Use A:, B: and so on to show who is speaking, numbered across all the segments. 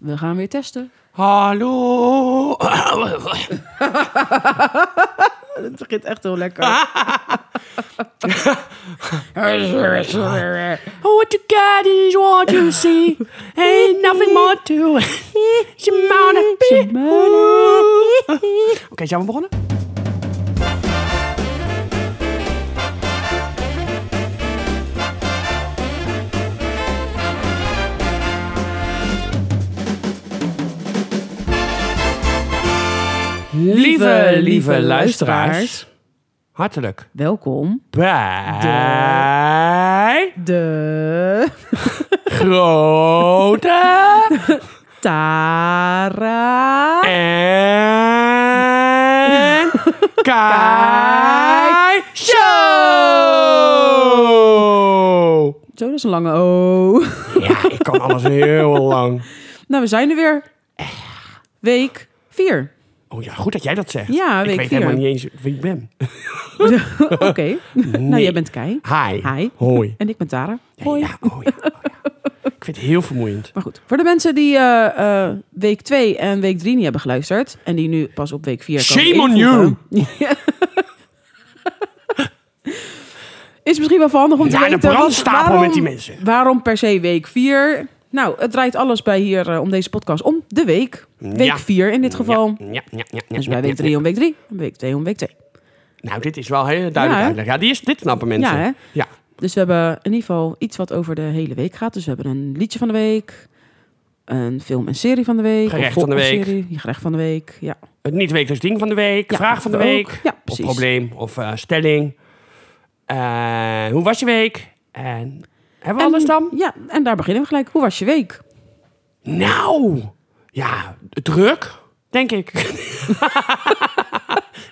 A: we gaan weer testen.
B: Hallo.
A: Dat begint echt heel lekker.
B: What you got is what you see. Ain't nothing more to it. Je mannen pie. Oké, zijn we begonnen? Lieve, lieve luisteraars. Hartelijk
A: Welkom
B: bij
A: de
B: Grote
A: Tara.
B: en Kai Show!
A: Zo, dat is een lange O.
B: Ja, ik kan alles heel lang.
A: Nou, we zijn er weer. Eh, Week 4.
B: Oh ja, goed dat jij dat zegt.
A: Ja,
B: ik
A: week
B: weet
A: vier.
B: helemaal niet eens wie ik ben.
A: Oké. Nou, jij bent Kai.
B: Hi.
A: Hi.
B: Hoi.
A: En ik ben Tara.
B: Ja, ja, oh ja, oh ja. Ik vind het heel vermoeiend.
A: Maar goed, voor de mensen die eh, eh, week 2 en week 3 niet hebben geluisterd... en die nu pas op week 4 komen
B: Shame on you!
A: Ja. Is misschien wel handig om te
B: Ja, de
A: weten... want
B: brandstapel
A: waarom-
B: met die mensen.
A: Waarom per se week 4? Nou, het draait alles bij hier eh, om deze podcast om de week. Week
B: Ja.
A: 4 in dit geval.
B: Ja, ja, ja, ja, ja,
A: Dus bij
B: ja,
A: week
B: ja.
A: 3 om week 3 en week 2 om week 2.
B: Nou, dit is wel heel duidelijk
A: Ja, hè?
B: uitleg. Ja, die is, dit snappen mensen.
A: Ja, hè?
B: Ja.
A: Dus we hebben in ieder geval iets wat over de hele week gaat. Dus we hebben een liedje van de week, een film en serie van de week.
B: Gerecht
A: of vol-
B: van de
A: of
B: week.
A: Serie, ja, gerecht van de week, ja.
B: Het niet-wekelijks ding van de week,
A: Ja,
B: vraag van de
A: dat
B: week,
A: ook. Ja,
B: of
A: precies.
B: probleem of eh, stelling. Eh, hoe was je week? En hebben we
A: En-
B: alles dan?
A: Ja, en daar beginnen we gelijk. Hoe was je week?
B: Nou, ja, druk, denk ik.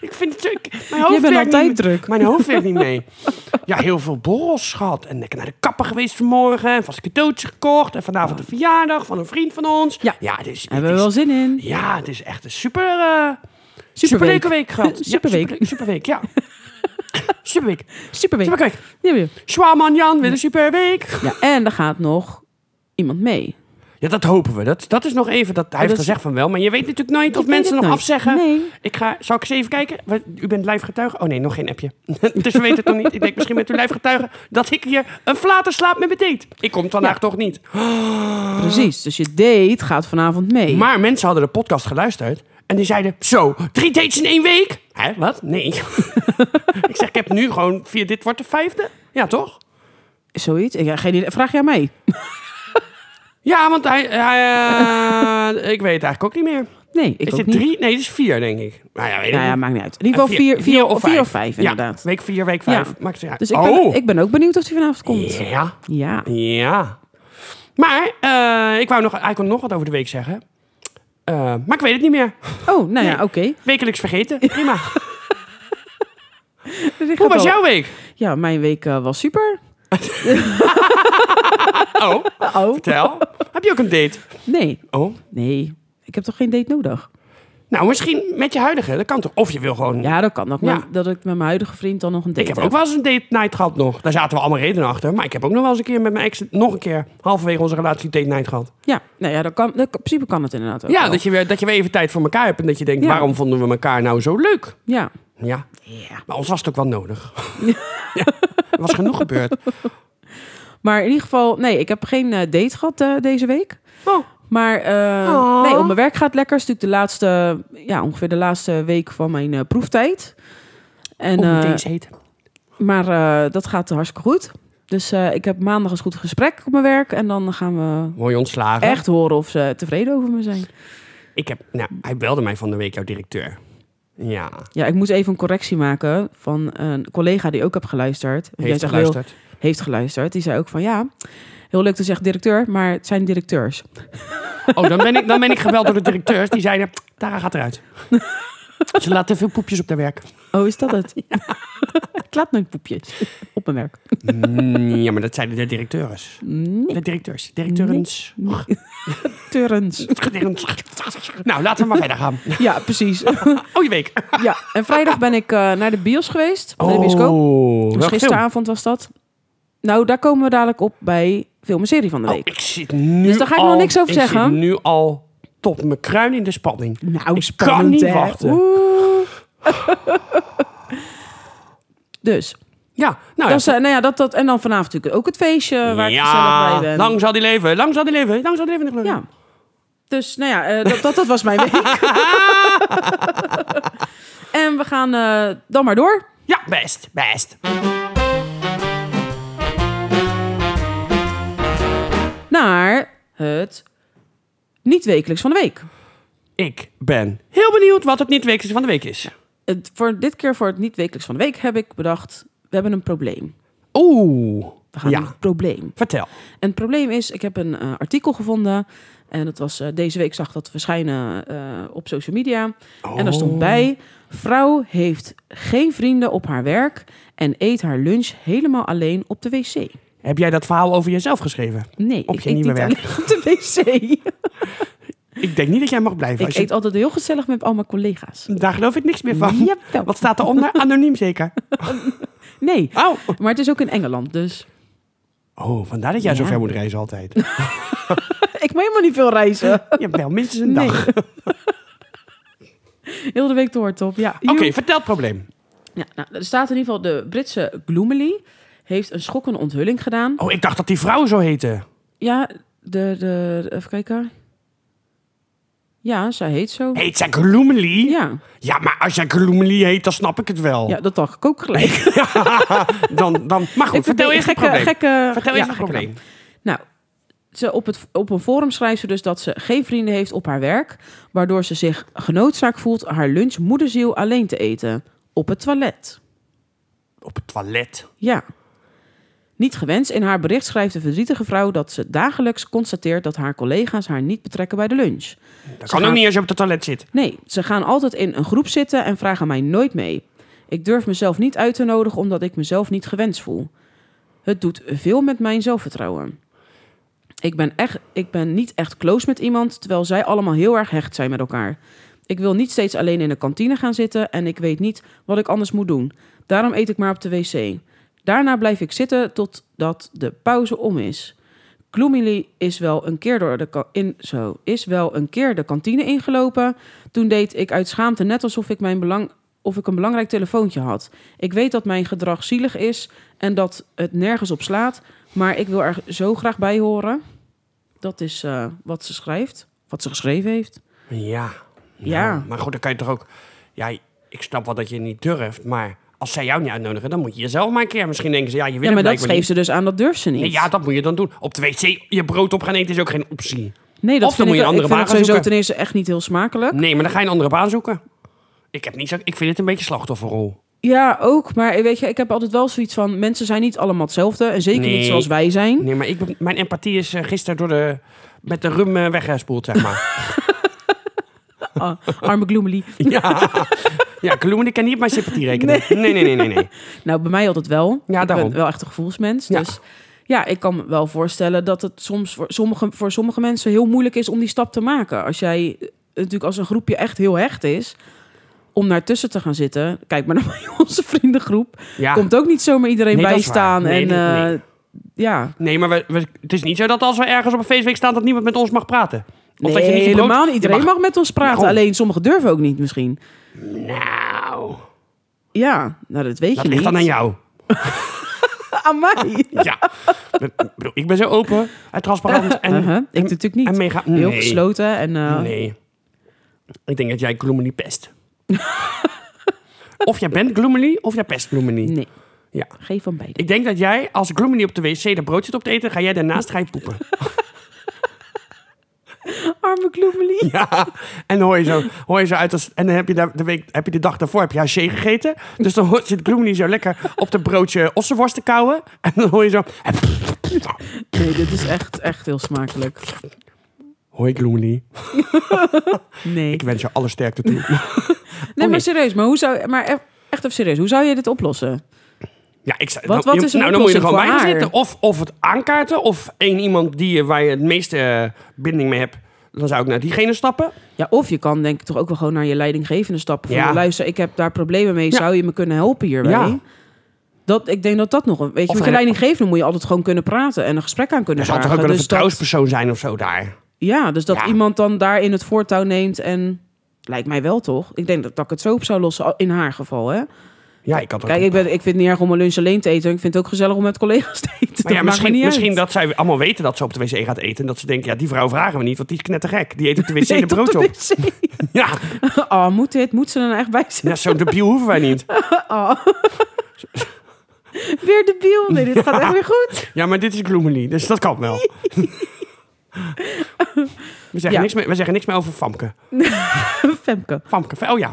B: ik vind het druk. Mijn hoofd
A: Je bent
B: werkt
A: altijd
B: niet,
A: druk.
B: Mijn hoofd werkt niet mee. Ja, heel veel borrels gehad. En ik ben naar de kapper geweest vanmorgen. En vast cadeautje gekocht. En vanavond een verjaardag van een vriend van ons.
A: Ja.
B: het is, het
A: Hebben we
B: is-
A: wel zin in?
B: Ja, het is echt een super... eh,
A: Superweek.
B: Superleuke week gehad. Ja,
A: Superweek.
B: superleuk- superweek, ja. superweek.
A: Superweek.
B: Superweek.
A: Ja, weer.
B: Schwaman Jan wil een superweek.
A: Ja, en er gaat nog iemand mee.
B: Ja, dat hopen we. Dat, dat is nog even, dat, hij
A: dat
B: heeft
A: is-
B: gezegd van wel, maar je weet natuurlijk nooit
A: weet
B: of mensen
A: het
B: nog
A: nooit.
B: afzeggen.
A: Nee.
B: Ik ga, zal ik eens even kijken? Wat- U bent live getuige? Oh nee, nog geen appje. dus we weten het nog niet. Ik denk misschien met u live getuige dat ik hier een flater slaap met mijn date. Ik kom vandaag toch niet. Ah.
A: Precies. Dus je date gaat vanavond mee.
B: Maar mensen hadden de podcast geluisterd en die zeiden: Zo, drie dates in één week? Hè, wat? Nee. ik zeg: Ik heb nu gewoon vier, dit wordt de vijfde. Ja, toch?
A: Zoiets. Ik- Ja, geen idee. Vraag jij mij?
B: Ja, want hij, hij, eh, ik weet het eigenlijk ook niet meer.
A: Nee, ik
B: is
A: ook
B: dit
A: niet.
B: drie? Ah, Nee, dit is vier, denk ik. Nou ja, weet ik
A: Nou ja,
B: niet.
A: maakt niet uit. In ieder geval vier, vier, of, vier of vijf,
B: Ja,
A: inderdaad.
B: week vier, week vijf.
A: Ja.
B: Maakt het niet uit.
A: Dus ik ben,
B: oh.
A: ik ben ook benieuwd of die vanavond komt.
B: Ja,
A: Ja.
B: ja. Maar eh, ik wou nog, eigenlijk nog wat over de week zeggen. Eh, maar ik weet het niet meer.
A: Oh, nou ja, oké.
B: Wekelijks vergeten. Prima.
A: Dus ik
B: Hoe
A: ga
B: was
A: wel-
B: jouw week?
A: Ja, mijn week eh, was super.
B: Oh,
A: Oh.
B: vertel. Heb je ook een date?
A: Nee,
B: Oh.
A: nee. Ik heb toch geen date nodig?
B: Nou, misschien met je huidige. Dat kan toch? Of je wil gewoon...
A: Ja, dat kan nog. maar
B: Ja.
A: Dat ik met mijn huidige vriend dan nog een date
B: Ik heb ook wel eens een date night gehad nog. Daar zaten we allemaal redenen achter. Maar ik heb ook nog wel eens een keer met mijn ex... nog een keer halverwege onze relatie date night gehad.
A: Ja, nou ja, dat kan, dat, in principe kan het inderdaad ook
B: Ja,
A: wel.
B: dat je, weer, dat je weer even tijd voor elkaar hebt. En dat je denkt,
A: Ja.
B: waarom vonden we elkaar nou zo leuk?
A: Ja.
B: Ja,
A: ja.
B: maar ons was het ook wel nodig. ja, er was genoeg gebeurd.
A: Maar in ieder geval, nee, ik heb geen eh, date gehad eh, deze week.
B: Oh,
A: Maar eh,
B: Oh.
A: nee, op mijn werk gaat het lekker. Het is natuurlijk de laatste, ja, ongeveer de laatste week van mijn eh, proeftijd. En,
B: en,
A: eh,
B: Oh, deze heet.
A: maar eh, dat gaat hartstikke goed. Dus eh, ik heb maandag eens goed gesprek op mijn werk. En dan gaan we
B: Mooi ontslagen.
A: echt horen of ze tevreden over me zijn.
B: Ik heb, nou, hij belde mij van de week, jouw directeur. Ja,
A: Ja, ik moest even een correctie maken van een collega die ook heb geluisterd. Want jij
B: heeft
A: zegt,
B: geluisterd.
A: "Wil- heeft geluisterd. Die zei ook van ja, heel leuk te zeggen directeur, maar het zijn directeurs.
B: Oh, dan ben, ik, dan ben ik gebeld door de directeurs. Die zeiden, Tara gaat eruit. Ze laat te veel poepjes op haar werk.
A: Oh, is dat het? ik laat mijn poepjes op mijn werk.
B: Mm, ja, maar dat zeiden de directeurs.
A: Nee,
B: De directeurs. Directeurens.
A: turens.
B: Gedirens. Nou, laten we maar verder gaan.
A: Ja, precies.
B: Oh, je week.
A: Ja, en vrijdag ben ik eh, naar de bios geweest. Naar de bioscoop. Dus
B: welke Oh, film?
A: gisteravond was dat. Nou, daar komen we dadelijk op bij film en serie van de week.
B: Oh, Ik zit nu
A: Dus daar ga ik
B: al,
A: nog niks over
B: ik
A: zeggen.
B: zit nu al tot mijn kruin in de spanning.
A: nou,
B: ik kan niet wachten.
A: Dus,
B: Ja, nou
A: dat is,
B: ja.
A: eh, nou ja, dat, dat, en dan vanavond natuurlijk ook het feestje Eh, waar ik
B: ja,
A: gezellig bij ben.
B: lang zal die leven, lang zal die leven, lang zal die leven.
A: Ja. Dus, nou ja, eh, dat, dat, dat was mijn week. en we gaan eh, dan maar door.
B: ja, best, best.
A: naar het niet-wekelijks van de week.
B: Ik ben heel benieuwd wat het niet-wekelijks van de week is.
A: Het, voor, dit keer voor het niet-wekelijks van de week heb ik bedacht... we hebben een probleem.
B: Oeh,
A: We gaan
B: Ja.
A: een probleem.
B: vertel.
A: En het probleem is, ik heb een eh, artikel gevonden... en dat was eh, deze week zag dat verschijnen eh, op social media. En daar
B: Oh.
A: stond bij... vrouw heeft geen vrienden op haar werk... en eet haar lunch helemaal alleen op de wc.
B: Heb jij dat verhaal over jezelf geschreven?
A: Nee,
B: Op
A: ik
B: je
A: eet niet
B: nieuwe werk.
A: alleen op de wc.
B: Ik denk niet dat jij mag blijven.
A: ik
B: Als je-
A: eet altijd heel gezellig met al mijn collega's.
B: Daar geloof ik niks meer van.
A: Jawel.
B: Wat staat eronder? Anoniem zeker.
A: Nee,
B: Oh,
A: maar het is ook in Engeland, dus...
B: oh vandaar dat jij zo
A: Ja.
B: ver moet reizen altijd. Je
A: Ik moet helemaal niet veel reizen.
B: hebt wel minstens een dag.
A: Heel de week door, top. Ja.
B: Oké,
A: Joep.
B: vertel het probleem.
A: Ja, nou, er staat in ieder geval de Britse Gloomily heeft een schokkende onthulling gedaan.
B: Oh, ik dacht dat die vrouw zo heette.
A: Ja, de, de, even kijken. Ja, zij heet zo.
B: Heet zij Gloomily? Ja.
A: Ja,
B: maar als jij Gloomily heet, dan snap ik het wel.
A: ja, dat dacht ik ook gelijk. Ik
B: dan, dan, maar goed,
A: vind
B: vertel
A: het
B: eerst het
A: gekke,
B: probleem.
A: gekke,
B: Vertel
A: ja,
B: eerst het
A: gekke
B: probleem.
A: Nou, ze op, het, op een forum schrijft ze dus dat ze geen vrienden heeft op haar werk, waardoor ze zich genoodzaakt voelt haar lunch moederziel alleen te eten op het toilet.
B: Op het toilet.
A: Ja. Niet gewenst. In haar bericht schrijft de verdrietige vrouw dat ze dagelijks constateert dat haar collega's haar niet betrekken bij de lunch.
B: Dat
A: Ze
B: kan ook
A: gaan-
B: niet als je op het toilet zit.
A: Nee, ze gaan altijd in een groep zitten en vragen mij nooit mee. Ik durf mezelf niet uit te nodigen omdat ik mezelf niet gewenst voel. Het doet veel met mijn zelfvertrouwen. Ik ben, echt, ik ben niet echt close met iemand, terwijl zij allemaal heel erg hecht zijn met elkaar. Ik wil niet steeds alleen in de kantine gaan zitten en ik weet niet wat ik anders moet doen. Daarom eet ik maar op de wc. Daarna blijf ik zitten totdat de pauze om is. Gloomily is wel een keer door de ka- in, zo, is wel een keer de kantine ingelopen. Toen deed ik uit schaamte net alsof ik mijn belang of ik een belangrijk telefoontje had. Ik weet dat mijn gedrag zielig is en dat het nergens op slaat, maar ik wil er zo graag bij horen. Dat is eh, wat ze schrijft, wat ze geschreven heeft.
B: Ja. Nou,
A: Ja.
B: Maar goed, dan kan je toch ook... Ja, ik snap wel dat je niet durft, maar als zij jou niet uitnodigen, dan moet je jezelf maar een keer. Misschien denken ze, ja, je wil
A: Ja,
B: het
A: maar dat
B: blijkbaar
A: schreef ze dus aan, dat durft ze
B: niet.
A: niet.
B: Nee, ja, dat moet je dan doen. Op de wc je brood op gaan eten is ook geen optie.
A: nee, dat
B: of dan
A: vind
B: moet je
A: ik,
B: een andere
A: ik vind het
B: baan gaan
A: sowieso
B: zoeken.
A: ten eerste echt niet heel smakelijk.
B: Nee, maar dan ga je een andere baan zoeken. Ik, heb niet zo, ik vind het een beetje slachtofferrol.
A: Ja, ook, maar weet je, ik heb altijd wel zoiets van... mensen zijn niet allemaal hetzelfde en zeker
B: Nee.
A: niet zoals wij zijn.
B: Nee, maar ik, ben- mijn empathie is eh, gisteren door de, met de rum eh, weggespoeld, zeg maar.
A: Ah, arme Gloomily.
B: ja, ja Kloemen, ik kan niet op mijn sympathie rekenen. Nee, nee, nee, nee. nee,
A: Nou, bij mij altijd wel.
B: Ja,
A: ik
B: daarom.
A: ben wel echt een gevoelsmens.
B: Ja.
A: Dus ja, ik kan me wel voorstellen dat het soms voor sommige, voor sommige mensen heel moeilijk is om die stap te maken. Als jij eh, natuurlijk als een groepje echt heel hecht is, om daartussen te gaan zitten. Kijk maar naar onze vriendengroep.
B: Ja.
A: Komt ook niet zomaar iedereen
B: Nee, dat is
A: bijstaan.
B: waar. Nee,
A: en
B: dat-
A: eh,
B: nee.
A: ja,
B: Nee, maar we, we- het is niet zo dat als we ergens op een feestweek staan, dat niemand met ons mag praten. Of
A: nee,
B: dat je niet gebrood-
A: helemaal niet.
B: Je
A: Iedereen mag... met ons praten.
B: Daarom.
A: Alleen sommigen durven ook niet misschien.
B: Nou,
A: Ja, nou dat weet
B: dat
A: je
B: ligt
A: niet.
B: dan aan jou.
A: Aan mij.
B: Ja. Ik bedoel, ik ben zo open en transparant. En,
A: Uh-huh, Ik
B: en-
A: natuurlijk niet.
B: en mega... Nee.
A: Heel gesloten en eh,
B: Nee. Ik denk dat jij Gloomily pest. of jij bent Gloomily, of jij pest Gloomily.
A: nee,
B: Ja.
A: geen van beide.
B: Ik denk dat jij, als Gloomily op de wc dat brood zit op te eten, ga jij daarnaast ga je poepen.
A: Arme Gloomily.
B: Ja, en dan hoor je zo, hoor je zo uit als... En dan heb je, daar de, week, heb je de dag daarvoor heb je haché gegeten. Dus dan hoort, zit Gloomily zo lekker op de broodje ossenworst te kauwen. En dan hoor je zo...
A: Nee, dit is echt, echt heel smakelijk.
B: Hoi Gloomily,
A: Nee.
B: ik wens je alle sterkte toe.
A: Nee,
B: nee.
A: maar serieus. Maar, hoe zou, maar e- echt even serieus. Hoe zou je dit oplossen?
B: Ja, ik zou-
A: Wat-
B: dan-
A: wat is een
B: nou, dan moet je
A: oplossing
B: er gewoon bij
A: voor
B: gaan
A: haar?
B: zitten. Of, of het aankaarten, of één iemand die, je- waar je het meeste eh, binding mee hebt. Dan zou ik naar diegene stappen.
A: Ja, of je kan denk ik toch ook wel gewoon naar je leidinggevende stappen. Van,
B: Ja.
A: luister, ik heb daar problemen mee.
B: Ja.
A: Zou je me kunnen helpen hierbij?
B: Ja.
A: Ja. Dat, ik denk dat dat nog een. Weet je,
B: Of
A: met
B: een-
A: je leidinggevende moet je altijd gewoon kunnen praten en een gesprek aan kunnen
B: Er zou
A: vragen.
B: toch ook wel een
A: Dus dat-
B: vertrouwenspersoon zijn of zo daar?
A: ja, dus dat
B: Ja.
A: iemand dan daarin het voortouw neemt en. Lijkt mij wel toch? Ik denk dat, dat ik het zo op zou lossen in haar geval. Hè?
B: Ja, ik had ook...
A: Kijk, ik, ben, ik vind het niet erg om een lunch alleen te eten. Ik vind het ook gezellig om met collega's te eten. Dat
B: maar
A: maakt
B: ja,
A: me
B: misschien,
A: niet uit.
B: misschien dat zij allemaal weten dat ze op de wc gaat eten. En dat ze denken, ja, die vrouw vragen we niet, want die is knettergek. Die eet op de wc
A: Nee,
B: de brood op.
A: tot de wc.
B: Ja,
A: Oh, moet dit? Moet ze er nou echt bij zitten?
B: ja zo'n debiel hoeven wij niet.
A: Oh. weer de biel. Nee, dit gaat echt weer goed.
B: Ja, maar dit is Gloomily, dus dat kan wel. We zeggen,
A: Ja.
B: niks meer, we zeggen niks meer over Famke.
A: Femke.
B: Famke, oh ja.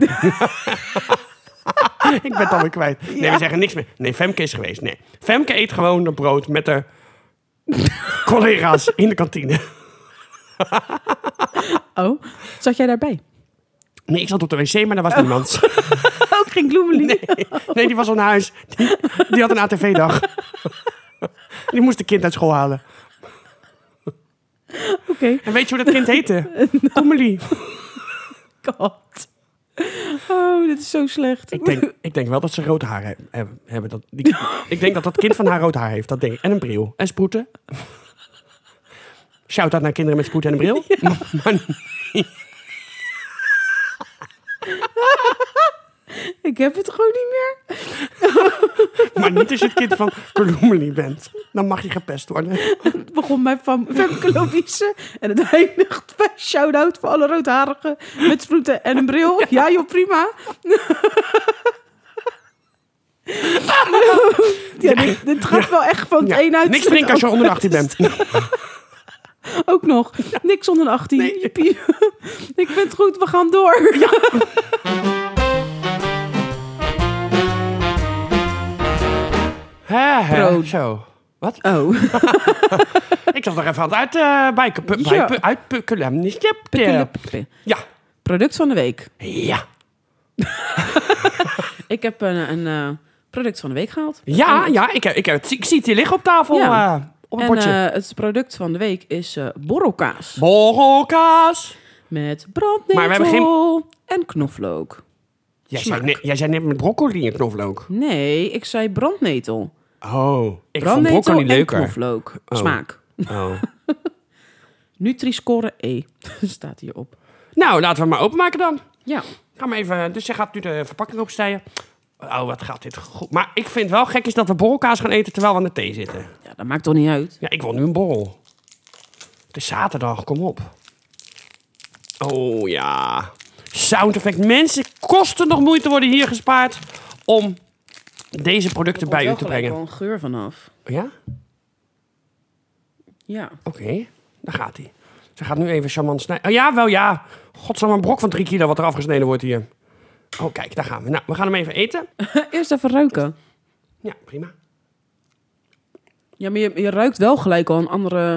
B: ik ben het alweer kwijt. Nee, we zeggen niks meer. Nee, Femke is geweest. Nee. Femke eet gewoon een brood met haar collega's in de kantine.
A: Oh, zat jij daarbij?
B: Nee, ik zat op de wc, maar daar was niemand.
A: Ook geen gloemelie.
B: Nee, die was al naar huis. Die, die had een ATV-dag. Die moest de kind uit school halen.
A: Oké.
B: En weet je hoe dat kind heette? Comely.
A: God. Oh, dit is zo slecht.
B: Ik denk, ik denk wel dat ze rood haar he- hebben. hebben. Dat, die, ik denk dat dat kind van haar rood haar heeft. Dat ding. En een bril. En sproeten. Shout-out naar kinderen met sproeten en een bril.
A: Ik heb het gewoon niet meer.
B: Maar niet als je het kind van Coloomely bent. Dan mag je gepest worden.
A: Het begon bij Fam- Femke Louise en het eindigt bij shout-out voor alle roodharigen met sproeten en een bril. Ja joh, prima. Ja, dit, dit gaat wel echt van het
B: Ja,
A: een uit.
B: niks drinken als je onder de 18 bent.
A: Ook nog. Niks onder de 18.
B: Nee.
A: Jippie. Ik vind het goed, we gaan door.
B: Hè, hè.
A: Brood.
B: Zo. Wat?
A: Oh,
B: Ik zat nog even aan het uit, eh, bijken- pu-
A: Ja.
B: bijpu- uitpukkelen. Ja.
A: Pikkelepikke.
B: eh. Ja.
A: product van de week.
B: Ja.
A: Ik heb een, een eh, product van de week gehaald.
B: Ja, ja, ik, heb- ik, heb het- ik zie het hier liggen op tafel.
A: Ja.
B: eh, op een
A: En
B: bordje.
A: eh, het product van de week is eh, borrelkaas.
B: Borrelkaas.
A: Met
B: Maar we
A: brandnetel
B: hebben
A: en knoflook.
B: Jij
A: Smaak.
B: zei, net, jij zei net met broccoli en knoflook.
A: Nee, ik zei brandnetel.
B: Oh, ik vond
A: Brandnetel
B: broccoli
A: en
B: leuker.
A: knoflook.
B: Oh.
A: Smaak.
B: Oh.
A: Nutri-score E staat hierop.
B: Nou, laten we maar openmaken dan.
A: Ja.
B: Ga maar even. Dus jij gaat nu de verpakking opstijgen. Oh, wat gaat dit goed. Maar ik vind wel gek is dat we borrelkaas gaan eten terwijl we aan de thee zitten.
A: ja, dat maakt toch niet uit.
B: Ja, ik wil nu een borrel. Het is zaterdag, kom op. Oh ja. Sound effect. Mensen, kosten nog moeite worden hier gespaard om deze producten bij u te
A: Er
B: brengen.
A: wel een geur vanaf.
B: Ja?
A: Ja.
B: Oké, daar gaat hij. Ze gaat nu even charmant snijden. Oh ja, wel ja. Godsamme een brok van drie kilo wat er afgesneden wordt hier. Oh, kijk, daar gaan we. Nou, we gaan hem even eten.
A: Eerst even ruiken.
B: Ja, prima.
A: Ja, maar je, je ruikt wel gelijk al een andere...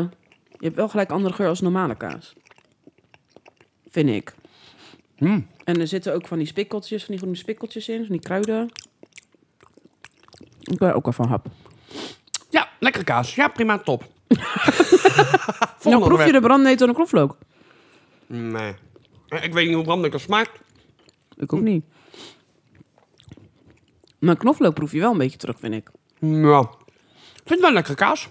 A: Je hebt wel gelijk een andere geur als normale kaas. Vind ik.
B: Hmm.
A: En er zitten ook van die spikkeltjes, van die groene spikkeltjes in. Van die kruiden. Ik ben ook al van hap.
B: Ja, lekkere kaas. Ja, prima, top.
A: Nou, proef je de brandnetel en de knoflook?
B: Nee. Eh, Ik weet niet hoe brandnetel smaakt.
A: Ik ook
B: Hmm.
A: niet. Maar knoflook proef je wel een beetje terug, vind ik.
B: Ja. Ik vind het wel een lekkere kaas.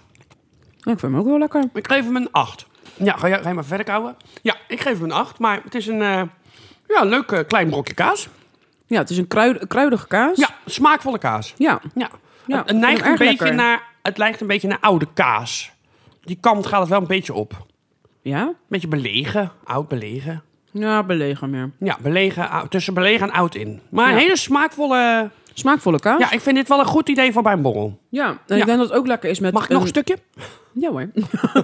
A: Ja, ik vind hem ook wel lekker.
B: Ik geef hem een 8. Ja, ga jij, ga jij maar verder kouwen? Ja, ik geef hem een 8. Maar het is een eh, ja, leuk eh, klein brokje kaas.
A: Ja, het is een kruid, kruidige kaas.
B: Ja, smaakvolle kaas.
A: Ja.
B: Ja.
A: Ja, ik
B: het, het
A: vind
B: neigt
A: hem
B: een
A: erg
B: beetje
A: lekker.
B: naar, het lijkt een beetje naar oude kaas. Die kant gaat het wel een beetje op.
A: Ja?
B: Beetje belegen, oud belegen.
A: Ja, belegen meer.
B: Ja, belegen, oud- tussen belegen en oud in. Maar een
A: Ja.
B: hele smaakvolle...
A: Smaakvolle kaas.
B: Ja, ik vind dit wel een goed idee voor bij een borrel.
A: Ja, en
B: Ja.
A: ik denk dat het ook lekker is met...
B: Mag ik nog
A: een-
B: een stukje?
A: Ja hoor.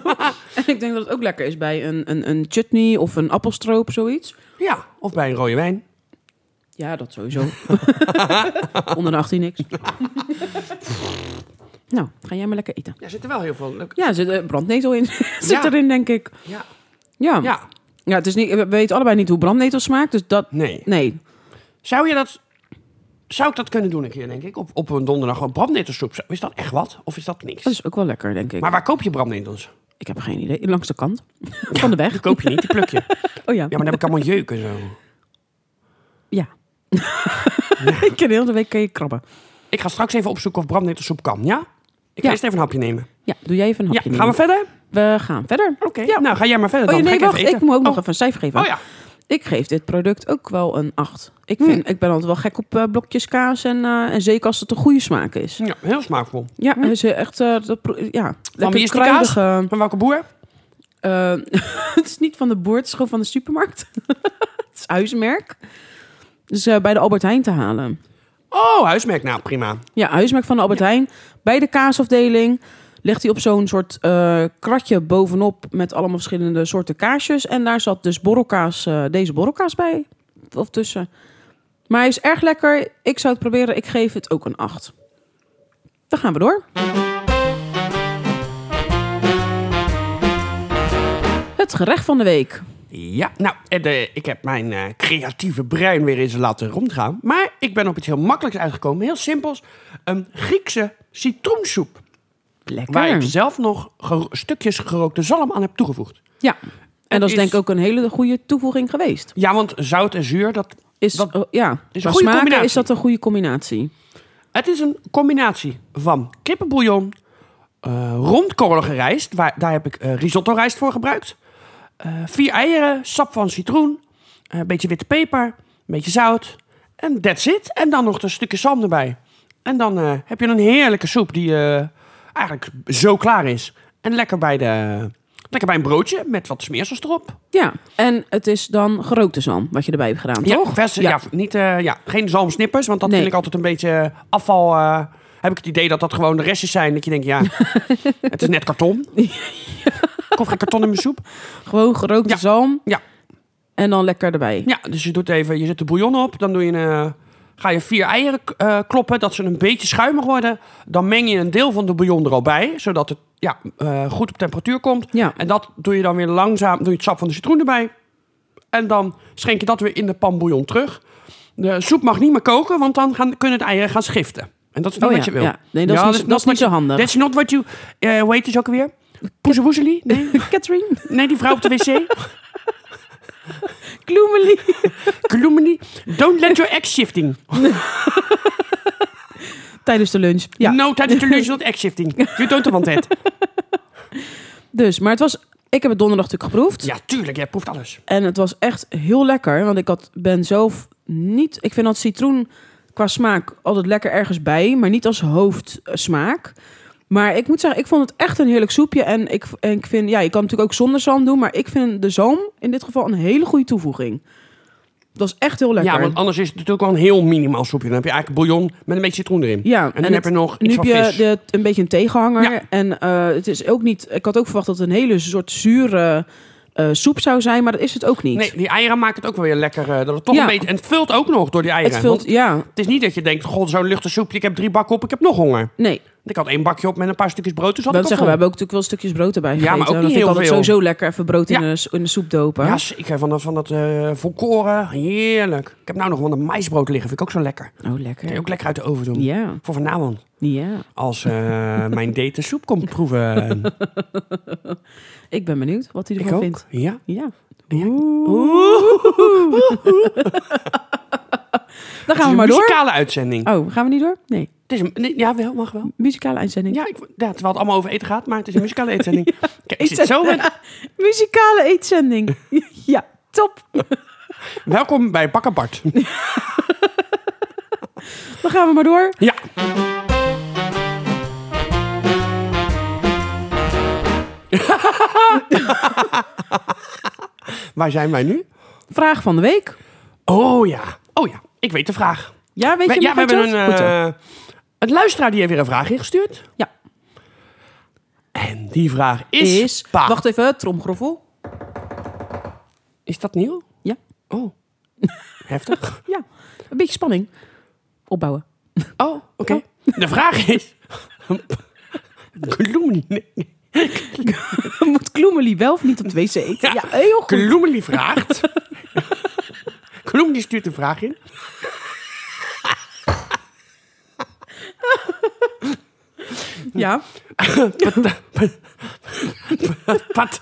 A: en ik denk dat het ook lekker is bij een, een, een chutney of een appelstroop, zoiets.
B: Ja, of bij een rode wijn.
A: Ja, dat sowieso. Onder de 18 niks. nou, ga jij maar lekker eten.
B: Ja, zit er wel heel veel leuk.
A: Ja, er zit eh, brandnetel in. zit
B: Ja.
A: erin, denk ik.
B: Ja.
A: Ja. ja.
B: ja,
A: het is niet, we weten allebei niet hoe brandnetel smaakt, dus dat...
B: nee.
A: Nee.
B: Zou je dat... Zou ik dat kunnen doen een keer, denk ik? Op, op een donderdag gewoon brandnetelsoep. Is dat echt wat? Of is dat
A: Dat
B: niks?
A: is ook wel lekker, denk ik.
B: Maar waar koop je brandnetels?
A: Ik heb geen idee. Langs de kant. Van de
B: Die
A: weg.
B: koop je niet, die pluk je.
A: Oh ja.
B: Ja, maar dan heb ik allemaal jeuk en zo.
A: Ja. ik ken heel de week kan je krabben.
B: Ik ga straks even opzoeken of brandnetelsoep kan, ja? Ik ga
A: Ja.
B: eerst even een hapje nemen.
A: Ja, doe jij even een
B: Ja,
A: hapje.
B: gaan we
A: nemen.
B: verder?
A: we gaan verder.
B: Oké,
A: Ja.
B: nou ga jij maar verder
A: Oh
B: dan.
A: ja, nee,
B: Ga
A: wacht.
B: ik
A: Ik
B: even eten.
A: moet ook nog
B: Oh,
A: even een cijfer geven.
B: Oh ja, Hm.
A: Ik geef dit product ook wel een 8. Ik, vind, ik ben altijd wel gek op eh, blokjes kaas en, eh, en zeker als het een goede smaak is.
B: ja heel smaakvol.
A: Ja, hij is echt... eh, dat, pro- ja, lekker
B: Hm. wie is die kaas?
A: kruidige,
B: Van welke boer?
A: eh, het is niet van de boer, het is gewoon van de supermarkt. het is huismerk. Dus eh, bij de Albert Heijn te halen.
B: Oh, huismerk. Nou, prima.
A: Ja, huismerk van de Albert Heijn. Bij de kaasafdeling ligt hij op zo'n soort eh, kratje bovenop met allemaal verschillende soorten kaasjes. En daar zat dus borrelkaas, eh, deze borrelkaas bij. Of tussen. Maar hij is erg lekker. Ik zou het proberen. Ik geef het ook een 8. Dan gaan we door. Het gerecht van de week.
B: Ja, nou, en, eh, ik heb mijn eh, creatieve brein weer eens laten rondgaan. Maar ik ben op iets heel makkelijks uitgekomen. Heel simpels. Een Griekse citroensoep. Waar ik
A: Lekker.
B: zelf nog gero- stukjes gerookte zalm aan heb toegevoegd.
A: Ja. En dat is
B: is-
A: denk ik ook een hele goede toevoeging geweest.
B: Ja, want zout en zuur, dat,
A: Is,
B: Dat
A: eh, ja,
B: een
A: qua
B: goede
A: smaken
B: combinatie.
A: is dat een goede combinatie.
B: het is een combinatie van kippenbouillon, eh rondkorrelige rijst. Waar, daar heb ik risotto rijst voor gebruikt. eh, vier eieren, sap van citroen, eh, een beetje witte peper, een beetje zout. En that's it. En dan nog een stukje zalm erbij. En dan eh, heb je een heerlijke soep die eh, eigenlijk zo klaar is. En lekker bij, de, lekker bij een broodje met wat smeersels erop.
A: Ja, en het is dan gerookte zalm wat je erbij hebt gedaan, toch?
B: Ja, verse, ja.
A: Ja.
B: niet, eh, ja, geen zalmsnippers, want dat
A: Nee.
B: vind ik altijd een beetje afval. eh, heb ik het idee dat dat gewoon de restjes zijn. Dat je denkt, ja, het is net karton. Ik Kom geen karton in mijn soep.
A: Gewoon gerookte
B: Ja.
A: zalm.
B: Ja.
A: En dan lekker erbij.
B: Ja, dus je doet even, je zet de bouillon op, dan doe je een, eh, ga je vier eieren eh, kloppen, dat ze een beetje schuimig worden. Dan meng je een deel van de bouillon er al bij, zodat het ja, eh, goed op temperatuur komt.
A: Ja.
B: En dat doe je dan weer langzaam, doe je het sap van de citroen erbij. En dan schenk je dat weer in de pan bouillon terug. De soep mag niet meer koken, want dan gaan, kunnen de eieren gaan schiften. En dat is niet
A: Oh
B: wat
A: ja,
B: je wil. dus
A: ja. Nee, dat is niet- dat is
B: wat
A: niet zo
B: je-
A: handig.
B: That's not what you... eh hoe heet die ze ook alweer? Poezewoezeli? Nee,
A: Catherine,
B: nee, die vrouw op de wc.
A: Gloomily.
B: Gloomily. Don't let your eggs shifting.
A: Tijdens de lunch. Ja.
B: Ja. No tijdens de lunch, not egg shifting. Je don't want het.
A: Dus, maar het was... Ik heb het donderdag natuurlijk geproefd.
B: Ja, tuurlijk, jij proeft alles.
A: En het was echt heel lekker. Want ik had, ben zelf niet... Ik vind dat citroen qua smaak altijd lekker ergens bij. Maar niet als hoofdsmaak. Maar ik moet zeggen, ik vond het echt een heerlijk soepje. En ik, en ik vind... Ja, je kan het natuurlijk ook zonder zalm doen. Maar ik vind de zalm in dit geval een hele goede toevoeging. Het was echt heel lekker.
B: Ja, want anders is het natuurlijk wel een heel minimaal soepje. Dan heb je eigenlijk bouillon met een beetje citroen erin.
A: Ja,
B: en dan
A: en
B: heb je nog
A: Nu
B: iets
A: heb
B: van
A: je
B: vis.
A: de, een beetje een tegenhanger.
B: Ja.
A: En eh, het is ook niet. Ik had ook verwacht dat het een hele soort zure eh, soep zou zijn, maar dat is het ook niet.
B: Nee, die eieren maken het ook wel weer lekker. eh, dat het toch
A: Ja.
B: een beetje, en het vult ook nog door die eieren.
A: het vult.
B: Want
A: Ja,
B: het is niet dat je denkt, god, zo'n luchtig soepje. Ik heb drie bakken op, ik heb nog honger.
A: nee.
B: Ik had één bakje op met een paar stukjes brood. Dus had
A: Ik wil
B: ik al
A: zeggen, we
B: vol.
A: hebben ook natuurlijk wel stukjes brood erbij
B: Ja, maar
A: gegeten.
B: ook
A: Dan
B: niet
A: vind ik
B: heel
A: altijd
B: veel.
A: sowieso lekker even brood in,
B: Ja.
A: de, s- in de soep dopen.
B: Ja, zeker. Van dat, van dat eh, volkoren. Heerlijk. Ik heb nou nog wel een maïsbrood liggen. Vind ik ook zo lekker.
A: Oh,
B: Kun je
A: lekker.
B: ook lekker uit de oven doen.
A: Ja,
B: Voor vanavond.
A: ja.
B: Als eh, mijn date de soep komt proeven.
A: Ik ben benieuwd wat hij
B: ik
A: ervan
B: ook.
A: vindt.
B: Ja.
A: Ja.
B: Ja.
A: Dan gaan we
B: het
A: maar
B: is een
A: door.
B: muzikale uitzending.
A: Oh, gaan we niet door? Nee.
B: Het is een, nee, ja, wel, mag wel.
A: Muzikale uitzending.
B: Ja, ik, ja, terwijl het allemaal over eten gaat, maar het is een muzikale uitzending. Kijk, ik zit zo met-
A: Muzikale eetzending. ja, top.
B: Welkom bij Bakker Bart.
A: Dan gaan we maar door.
B: Ja, waar zijn wij nu?
A: Vraag van de week.
B: Oh ja, oh ja, ik weet de vraag.
A: Ja, weet je
B: We- ja,
A: hem
B: we
A: nog
B: hebben
A: uit
B: een,
A: je hoofd? Goed, hè?
B: eh, een luisteraar die heeft weer een vraag ingestuurd.
A: Ja.
B: En die vraag is...
A: is...
B: pa.
A: Wacht even, tromgroffel.
B: Is dat nieuw?
A: Ja.
B: Oh, heftig.
A: Ja, een beetje spanning. Opbouwen.
B: Oh, oké. De vraag is... Gloomily, nee, nee.
A: Moet Kloemelie wel of niet op de wc eten? Ja, heel goed.
B: Gloomily vraagt... Gloomily stuurt een vraag in.
A: Ja.
B: Pat,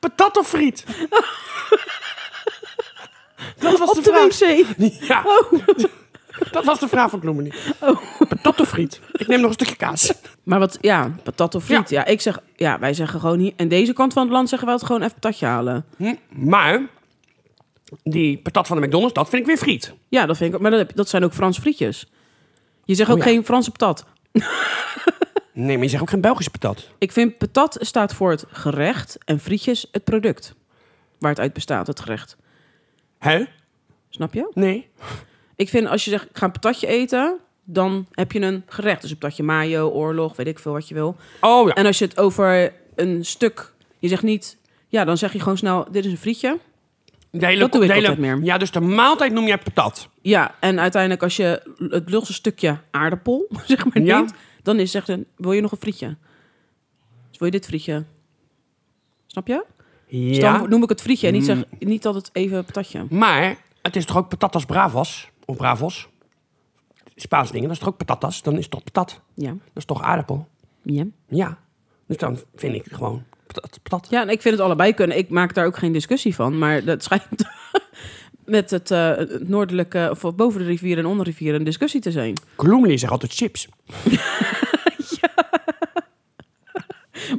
B: patat of friet? Dat was
A: Op
B: de
A: de
B: vraag.
A: wc. Oh.
B: Ja. Dat was de vraag van Bloemeni. Patat of friet? Ik neem nog een stukje kaas.
A: Maar wat, ja, patat of friet. Ja. ik zeg, ja, wij zeggen gewoon hier. En deze kant van het land zeggen we altijd gewoon even patatje halen.
B: Hm, Maar die patat van de McDonald's, dat vind ik weer friet.
A: Ja, dat vind ik. Maar dat, heb- dat zijn ook Frans frietjes. Je zegt ook
B: Oh ja.
A: geen Franse patat.
B: Nee, maar je zegt ook geen Belgische patat.
A: Ik vind patat staat voor het gerecht en frietjes het product. Waar het uit bestaat, het gerecht.
B: Hè?
A: Snap je?
B: Nee.
A: Ik vind als je zegt, ik ga een patatje eten, dan heb je een gerecht. Dus een patatje mayo, oorlog, weet ik veel wat je wil.
B: Oh ja.
A: En als je het over een stuk, je zegt niet, ja, dan zeg je gewoon snel, dit is een frietje.
B: De hele,
A: dat doe ik
B: de hele-
A: altijd meer.
B: Ja, dus de maaltijd noem jij patat.
A: Ja, en uiteindelijk als je het lulse stukje aardappel, zeg maar
B: Ja.
A: neemt, dan is zegt een, wil je nog een frietje? Dus wil je dit frietje? Snap je? Dus
B: Ja. Mm.
A: dan noem ik het frietje en niet, zeg, niet altijd even patatje.
B: Maar het is toch ook patatas bravas? Of bravos? Spaans dingen, dat is toch ook patatas? Dan is het toch patat?
A: Ja.
B: Dat is toch aardappel?
A: Ja.
B: Ja. Dus dan vind ik gewoon patat. patat.
A: ja, en ik vind het allebei kunnen. Ik maak daar ook geen discussie van, maar dat schijnt met het, eh, het noordelijke, of boven de rivier en onder de rivier, een discussie te zijn.
B: Gloemeli zegt altijd chips.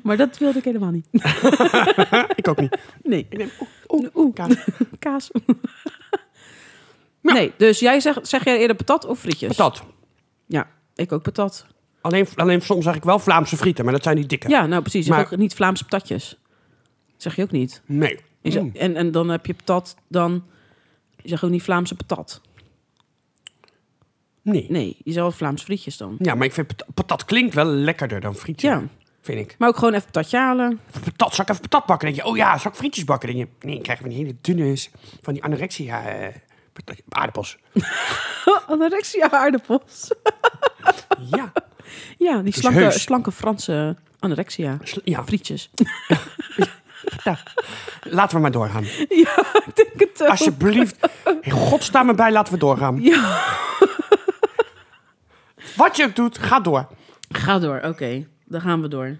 A: Maar dat wilde ik helemaal niet.
B: ik ook niet.
A: Nee.
B: Ik denk, oeh, oeh,
A: Oeh.
B: kaas.
A: Kaas. Nee, dus jij zegt, zeg jij eerder patat of frietjes?
B: patat.
A: Ja, ik ook patat.
B: Alleen, alleen soms zeg ik wel Vlaamse frieten, maar dat zijn die dikke.
A: Ja, nou precies. Je
B: Maar-
A: zegt niet Vlaamse patatjes. Dat zeg je ook niet.
B: Nee.
A: Je zegt- en, en dan heb je patat, dan... Je zegt ook niet Vlaamse patat.
B: Nee.
A: Nee, je zegt wel Vlaamse frietjes dan.
B: Ja, maar ik vind patat, patat klinkt wel lekkerder dan frietje.
A: Ja,
B: Vind ik.
A: maar ook gewoon even patatje halen.
B: Of Patat, zal ik even patat bakken? denk je, oh ja, zal ik frietjes bakken? Denk je, nee, ik krijg van die hele dunne, van die anorexia eh, patat- aardappels.
A: Anorexia aardappels.
B: ja.
A: Ja, die
B: is
A: slanke,
B: heus.
A: slanke Franse anorexia.
B: Sl- ja,
A: Frietjes.
B: laten we maar doorgaan.
A: ja, ik denk het ook.
B: Alsjeblieft. In godsnaam erbij, laten we doorgaan.
A: Ja.
B: Wat je ook doet, ga door.
A: Ga door, oké. Dan gaan we door.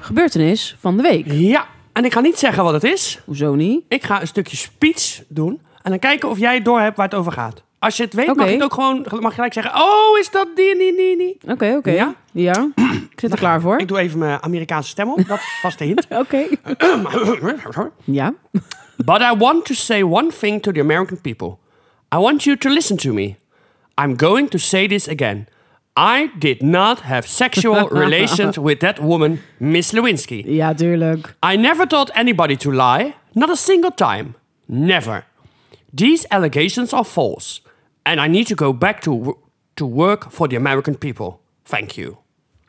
A: Gebeurtenis van de week.
B: Ja, en ik ga niet zeggen wat het is.
A: Hoezo niet?
B: Ik ga een stukje speech doen en dan kijken of jij door hebt waar het over gaat. Als je het weet,
A: Oké.
B: mag je het ook gewoon mag je gelijk zeggen, oh, is dat die, die, die, die.
A: Oké, oké.
B: Ja?
A: Ja? Ik zit er klaar voor.
B: Ik doe even mijn Amerikaanse stem op, dat is vast de hint.
A: Oké. Ja.
B: But I want to say one thing to the American people. I want you to listen to me. I'm going to say this again. I did not have sexual relations with that woman, Miss Lewinsky.
A: Ja, tuurlijk.
B: I never told anybody to lie, not a single time. Never. These allegations are false, and I need to go back to, w- to work for the American people. Thank you.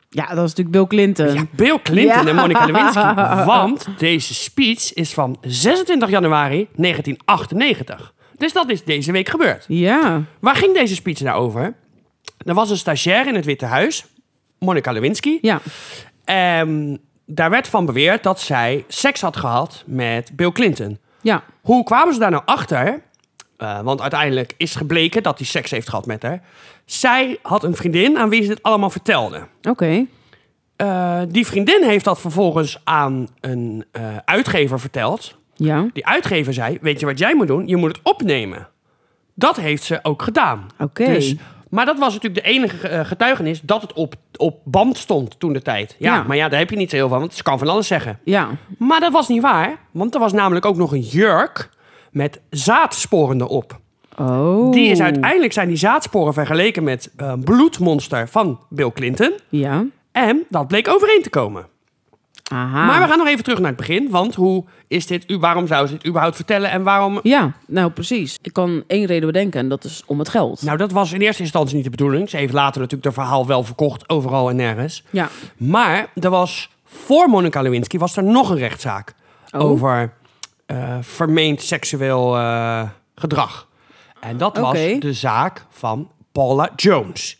A: Ja, dat is natuurlijk Bill Clinton.
B: Ja, Bill Clinton
A: Ja.
B: en Monica Lewinsky. Want deze speech is van 26 januari 1998. Dus dat is deze week gebeurd.
A: Ja.
B: Waar ging deze speech nou over? Er was een stagiair in het Witte Huis, Monica Lewinsky.
A: Ja.
B: En daar werd van beweerd dat zij seks had gehad met Bill Clinton.
A: Ja.
B: Hoe kwamen ze daar nou achter? Eh, want uiteindelijk is gebleken dat hij seks heeft gehad met haar. Zij had een vriendin aan wie ze dit allemaal vertelde.
A: Oké.
B: Eh, die vriendin heeft dat vervolgens aan een eh, uitgever verteld.
A: Ja.
B: Die uitgever zei: Weet je wat jij moet doen? Je moet het opnemen. Dat heeft ze ook gedaan.
A: Oké.
B: Dus, maar dat was natuurlijk de enige eh, getuigenis dat het op, op band stond toen de tijd. Ja,
A: Ja.
B: maar ja, daar heb je niet zo heel van, want ze kan van alles zeggen.
A: Ja.
B: Maar dat was niet waar, want er was namelijk ook nog een jurk met zaadsporen erop.
A: Oh.
B: Die is uiteindelijk zijn die zaadsporen vergeleken met eh bloedmonster van Bill Clinton.
A: Ja.
B: En dat bleek overeen te komen.
A: Aha.
B: Maar we gaan nog even terug naar het begin. Want hoe is dit, u- waarom zou ze dit überhaupt vertellen en waarom...
A: Ja, nou precies. Ik kan één reden bedenken en dat is om het geld.
B: Nou, dat was in eerste instantie niet de bedoeling. Ze heeft later natuurlijk haar verhaal wel verkocht, overal en nergens.
A: Ja.
B: Maar er was, voor Monica Lewinsky was er nog een rechtszaak.
A: Oh.
B: Over eh, vermeend seksueel eh, gedrag. En dat was
A: Oké.
B: de zaak van Paula Jones.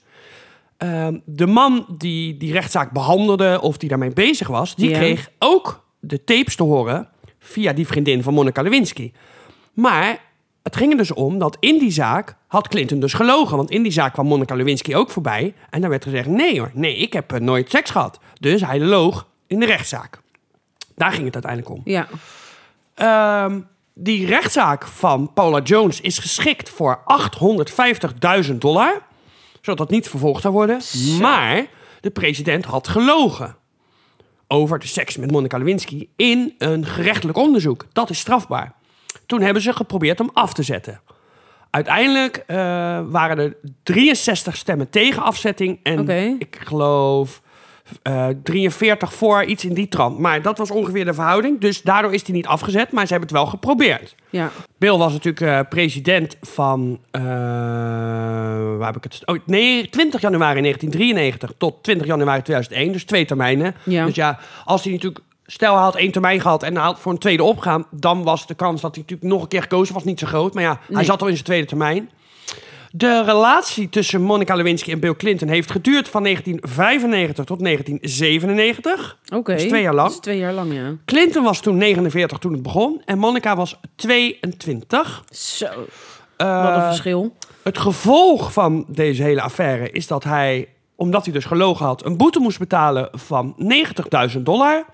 B: Ehm, de man die die rechtszaak behandelde of die daarmee bezig was, die
A: Ja.
B: kreeg ook de tapes te horen via die vriendin van Monica Lewinsky. Maar het ging er dus om dat in die zaak had Clinton dus gelogen. Want in die zaak kwam Monica Lewinsky ook voorbij. En daar werd gezegd, nee hoor, nee, ik heb eh, nooit seks gehad. Dus hij loog in de rechtszaak. Daar ging het uiteindelijk om.
A: Ja.
B: Ehm, Die rechtszaak van Paula Jones is geschikt voor 850.000 dollar. Zodat dat niet vervolgd zou worden. Maar de president had gelogen over de seks met Monica Lewinsky in een gerechtelijk onderzoek. Dat is strafbaar. Toen hebben ze geprobeerd hem af te zetten. Uiteindelijk eh, waren er 63 stemmen tegen afzetting en
A: Oké.
B: ik geloof eh, 43 voor, iets in die trant. Maar dat was ongeveer de verhouding, dus daardoor is hij niet afgezet, maar ze hebben het wel geprobeerd.
A: Ja.
B: Bill was natuurlijk eh, president van. eh, waar heb ik het? Oh, nee, 20 januari 1993 tot 20 januari 2001, dus twee termijnen.
A: Ja.
B: Dus ja, als hij natuurlijk. Stel, hij had één termijn gehad en hij had voor een tweede opgaan. dan was de kans dat hij natuurlijk nog een keer gekozen was niet zo groot. Maar ja, hij
A: Nee.
B: zat al in zijn tweede termijn. De relatie tussen Monica Lewinsky en Bill Clinton heeft geduurd van 1995 tot 1997.
A: Oké.
B: Dus twee jaar lang.
A: Dat is twee jaar lang, ja.
B: Clinton was toen 49 toen het begon en Monica was 22.
A: Zo.
B: Eh,
A: Wat een verschil.
B: het gevolg van deze hele affaire is dat hij, omdat hij dus gelogen had, een boete moest betalen van 90.000 dollar.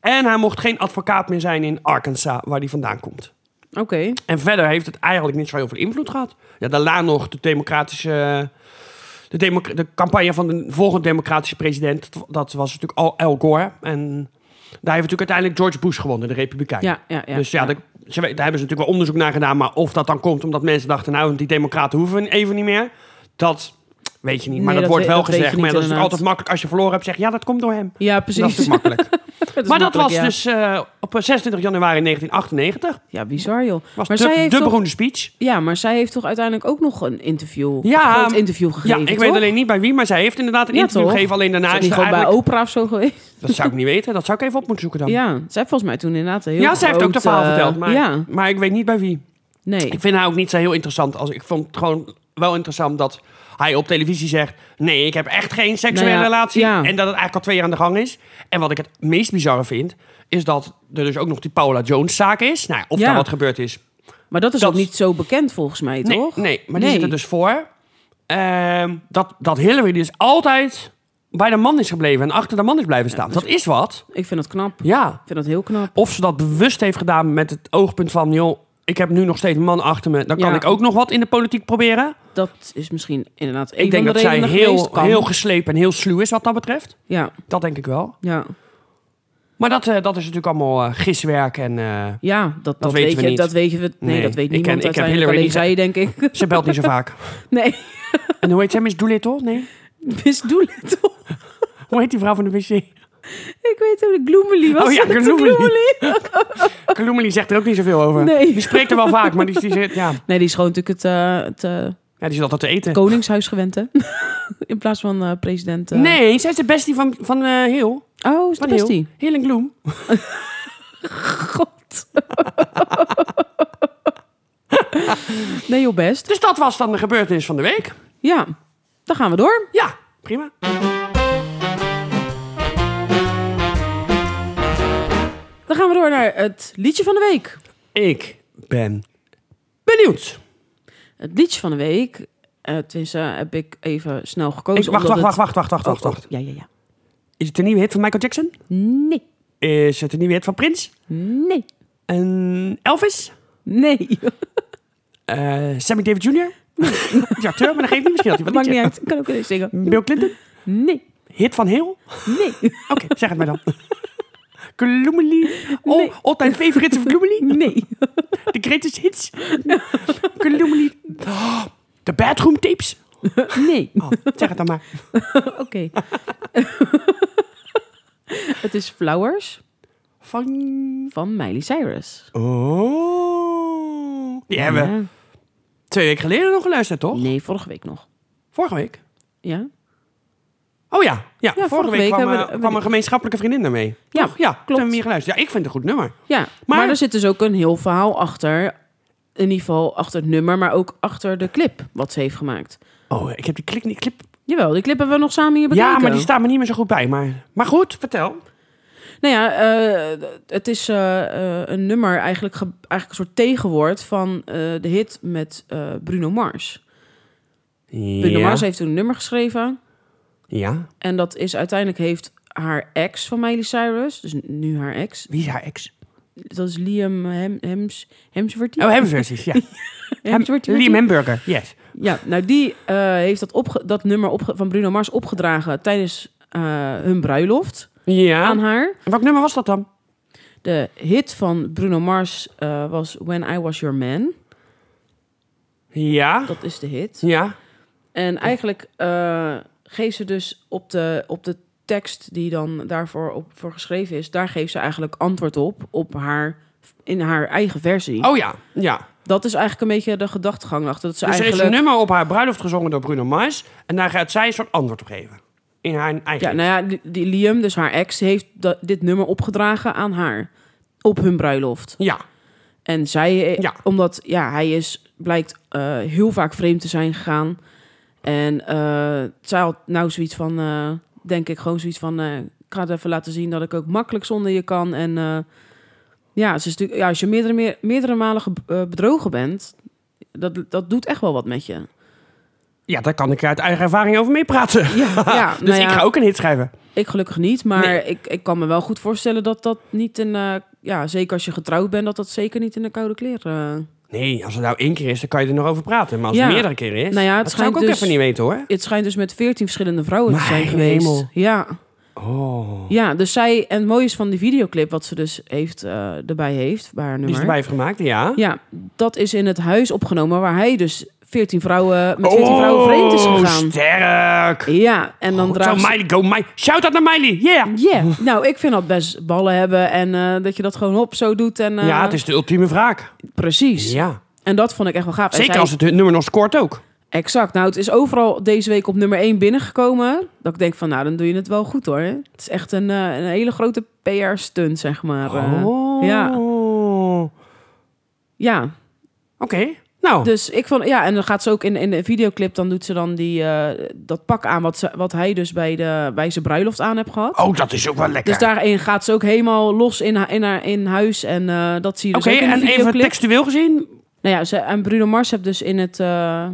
B: En hij mocht geen advocaat meer zijn in Arkansas, waar hij vandaan komt.
A: Oké.
B: En verder heeft het eigenlijk niet zo heel veel invloed gehad. Ja, daarna nog de democratische. De, democ- de campagne van de volgende democratische president, dat- dat was natuurlijk Al, Al Gore. En daar heeft natuurlijk uiteindelijk George Bush gewonnen, de Republikein.
A: Ja, ja, ja.
B: dus ja, dat- ze- daar hebben ze natuurlijk wel onderzoek naar gedaan. Maar of dat dan komt omdat mensen dachten, nou, die democraten hoeven we even niet meer. Dat weet je niet. Maar
A: Nee,
B: dat,
A: dat
B: wordt
A: we-
B: wel
A: dat weet je
B: gezegd. Maar
A: niet,
B: dat is
A: inderdaad.
B: altijd makkelijk als je verloren hebt, zeg je, ja, dat komt door hem.
A: ja,
B: Dat is
A: precies.
B: natuurlijk makkelijk.
A: Dat is
B: maar dat was
A: makkelijk, ja.
B: dus eh, op 26 januari 1998.
A: Ja, bizar joh.
B: Was
A: maar
B: de,
A: zij
B: de
A: heeft toch...
B: beroemde speech.
A: Ja, maar zij heeft toch uiteindelijk ook nog een interview,
B: Ja,
A: een groot interview gegeven,
B: ja, ik
A: toch?
B: weet alleen niet bij wie, maar zij heeft inderdaad een
A: Ja,
B: interview
A: toch?
B: gegeven. Alleen
A: Is
B: daarna
A: dat
B: is
A: niet
B: ze
A: gewoon
B: eigenlijk...
A: bij Oprah of zo geweest?
B: Dat zou ik niet weten. Dat zou ik even op moeten zoeken dan.
A: Ja, zij heeft volgens mij toen inderdaad een heel
B: Ja, zij heeft ook
A: groot,
B: de verhaal
A: eh,
B: verteld, maar,
A: Ja,
B: maar ik weet niet bij wie.
A: nee.
B: Ik vind haar ook niet zo heel interessant. Als, ik vond het gewoon wel interessant dat hij op televisie zegt... nee, ik heb echt geen seksuele
A: Nou ja,
B: relatie.
A: ja.
B: En dat het eigenlijk al twee jaar aan de gang is. En wat ik het meest bizarre vind... is dat er dus ook nog die Paula Jones-zaak is. Nou, ja, of
A: Ja.
B: daar wat gebeurd is,
A: Maar dat is
B: Dat-
A: ook niet zo bekend volgens mij,
B: Nee,
A: toch?
B: nee maar die zit er dus voor. Ehm, dat, dat Hillary dus altijd bij de man is gebleven en achter de man is blijven staan. dat is wat.
A: Ik vind dat knap.
B: Ja.
A: Ik vind dat heel knap.
B: Of ze dat bewust heeft gedaan met het oogpunt van... joh, ik heb nu nog steeds een man achter me. Dan kan
A: Ja.
B: ik ook nog wat in de politiek proberen.
A: Dat is misschien inderdaad een
B: Ik
A: van
B: denk dat
A: de
B: zij
A: redenen geweest
B: heel,
A: kan.
B: heel geslepen en heel sluw is wat dat betreft.
A: Ja,
B: Dat denk ik wel.
A: ja.
B: Maar dat, eh, dat is natuurlijk allemaal eh, giswerk. En eh,
A: Ja, dat, dat,
B: weten
A: weet
B: we
A: je,
B: niet.
A: dat weet je. Nee,
B: Nee,
A: dat weet
B: ik
A: niemand
B: ken- ik heb
A: uiteindelijk.
B: Hillary
A: Alleen
B: niet ge-
A: zij, denk ik.
B: ze belt niet zo vaak.
A: Nee,
B: En hoe heet zij? Miss Doolittle? Nee?
A: Miss Doolittle.
B: Hoe heet die vrouw van de wc?
A: Ik weet hoe de Gloomily was.
B: Oh ja,
A: dat de
B: Gloomily. Kalumeli zegt er ook niet zoveel over.
A: Nee.
B: Die spreekt er wel vaak, maar die, die, zit, ja,
A: Nee, die is gewoon natuurlijk het, eh, het eh,
B: ja, die zit altijd te eten.
A: koningshuis gewend, hè? In plaats van eh, president... eh,
B: Nee, zij is de bestie van, van eh Heel.
A: Oh, is
B: Van
A: dat best
B: Heel.
A: die?
B: Heel en Gloom.
A: God. nee, joh, best.
B: Dus dat was dan de gebeurtenis van de week.
A: Ja, dan gaan we door.
B: Ja, prima.
A: Dan gaan we door naar het liedje van de week.
B: Ik ben benieuwd.
A: Het liedje van de week, eh tenminste, heb ik even snel gekozen.
B: Ik, wacht,
A: omdat
B: wacht, wacht,
A: het- Oh,
B: wacht, wacht, wacht, wacht, wacht.
A: Ja, ja, ja.
B: Is het een nieuwe hit van Michael Jackson?
A: Nee,
B: Is het een nieuwe hit van Prins?
A: nee,
B: En Elvis?
A: nee.
B: Eh, Sammy David Jr.? Die acteur, maar dat geeft niet misschien dat hij
A: Dat
B: wat
A: maakt niet
B: liedje-
A: uit. Ik kan ook eens zingen.
B: Bill Clinton?
A: Nee,
B: Hit van Heel?
A: nee,
B: Oké, zeg het maar dan. Gloomily. Oh,
A: Nee.
B: all-time favorites of Gloomily.
A: nee.
B: De greatest hits. Gloomily. De bathroom tapes.
A: Nee.
B: Oh, zeg het dan maar. Oh.
A: Oké. het is Flowers
B: Van...
A: van Miley Cyrus.
B: Oh. Die hebben we
A: Ja.
B: twee weken geleden nog geluisterd, toch?
A: Nee, vorige week nog.
B: Vorige week.
A: Ja?
B: Oh ja. Ja, vorige,
A: vorige
B: week,
A: week
B: kwam,
A: hebben
B: eh,
A: we de-
B: kwam een gemeenschappelijke vriendin daarmee.
A: Ja,
B: Toch? Ja, klopt. Toen
A: klopt.
B: hebben we hier geluisterd. Ja, ik vind het een goed nummer.
A: Ja, maar, er zit dus ook een heel verhaal achter. In ieder geval achter het nummer, maar ook achter de clip wat ze heeft gemaakt.
B: Oh, ik heb die klik niet... Clip...
A: Jawel, die clip hebben we nog samen hier bekeken.
B: Ja, maar die staat me niet meer zo goed bij. Maar, maar goed, vertel.
A: Nou ja, eh, het is eh, eh, een nummer, eigenlijk, ge- eigenlijk een soort tegenwoord van eh, de hit met eh, Bruno Mars. Bruno
B: Ja.
A: Mars heeft toen een nummer geschreven.
B: ja.
A: En dat is uiteindelijk heeft haar ex van Miley Cyrus, dus nu haar ex,
B: Wie is haar ex?
A: dat is Liam Hem, Hems, Hemsworthy.
B: Oh, hamburgers, ja.
A: Hemsworthy.
B: Liam Hamburger, yes.
A: Ja, nou die eh, heeft dat, opge- dat nummer opge- van Bruno Mars opgedragen tijdens eh, hun bruiloft aan
B: Ja.
A: haar.
B: Welk nummer was dat dan?
A: De hit van Bruno Mars eh, was When I Was Your Man.
B: Ja.
A: Dat is de hit.
B: Ja.
A: En eigenlijk eh, geeft ze dus op de, op de tekst die dan daarvoor op, voor geschreven is, daar geeft ze eigenlijk antwoord op, op haar, in haar eigen versie.
B: Oh ja, ja.
A: Dat is eigenlijk een beetje de gedachtegang achter. Dat ze
B: Dus er is
A: eigenlijk...
B: een nummer op haar bruiloft gezongen door Bruno Mars. En daar gaat zij een soort antwoord op geven. In haar eigen...
A: Ja, nou ja, die, die Liam, dus haar ex, heeft dat, dit nummer opgedragen aan haar. Op hun bruiloft.
B: ja.
A: En zij, eh,
B: Ja.
A: omdat ja, hij is, blijkt eh, heel vaak vreemd te zijn gegaan. En eh, zij had nou zoiets van, eh, denk ik, gewoon zoiets van... eh, ik ga het even laten zien dat ik ook makkelijk zonder je kan. En eh, ja, ze is natuurlijk, ja, als je meerdere, meer- meerdere malen ge- eh, bedrogen bent... Dat, dat doet echt wel wat met je.
B: Ja, daar kan ik uit eigen ervaring over meepraten.
A: Ja, ja,
B: Dus
A: nou ja.
B: ik ga ook een hit schrijven.
A: Ik gelukkig niet, maar
B: Nee.
A: ik, ik kan me wel goed voorstellen dat dat niet een... eh, ja, zeker als je getrouwd bent, dat dat zeker niet in de koude kleren... eh.
B: Nee, als het nou één keer is, dan kan je er nog over praten. Maar als het
A: Ja.
B: meerdere keren is,
A: Nou ja, het
B: dat zou ik ook
A: schijnt dus-
B: even niet weten hoor.
A: Het schijnt dus met veertien verschillende vrouwen te zijn
B: Mijn
A: geweest.
B: hemel.
A: Ja,
B: Oh.
A: ja, dus zij... En het mooie is van die videoclip wat ze dus heeft, eh, erbij heeft, bij haar
B: Die is
A: nummer.
B: erbij heeft gemaakt, ja.
A: Ja, dat is in het huis opgenomen waar hij dus veertien vrouwen... met veertien vrouwen vreemd is
B: Oh,
A: gegaan.
B: sterk.
A: Ja, en dan
B: Goed zo,
A: draagt ze...
B: Miley, go Miley. Shout out naar Miley, yeah.
A: Yeah. nou, ik vind dat best ballen hebben en eh, dat je dat gewoon op zo doet. En, eh,
B: ja, het is de ultieme wraak.
A: Precies.
B: Ja.
A: En dat vond ik echt wel gaaf. En
B: Zeker
A: zij-
B: als het nummer nog scoort ook.
A: Exact. Nou, het is overal deze week op nummer 1 binnengekomen. Dat ik denk van, nou, dan doe je het wel goed hoor. Het is echt een, eh, een hele grote PR-stunt, zeg maar. Eh,
B: Oh.
A: ja.
B: Oké.
A: Ja,
B: Nou,
A: dus ik vond, ja, en dan gaat ze ook in, in de videoclip, dan doet ze dan die, eh, dat pak aan wat, ze, wat hij dus bij, de, bij zijn bruiloft aan heeft gehad.
B: oh, dat is ook wel lekker.
A: Dus daarin gaat ze ook helemaal los in, haar- in, haar, in huis en eh, dat zie je dus
B: Oké,
A: ook in de
B: en even
A: videoclip.
B: textueel gezien.
A: Nou ja, ze, en Bruno Mars heeft dus in, het, eh,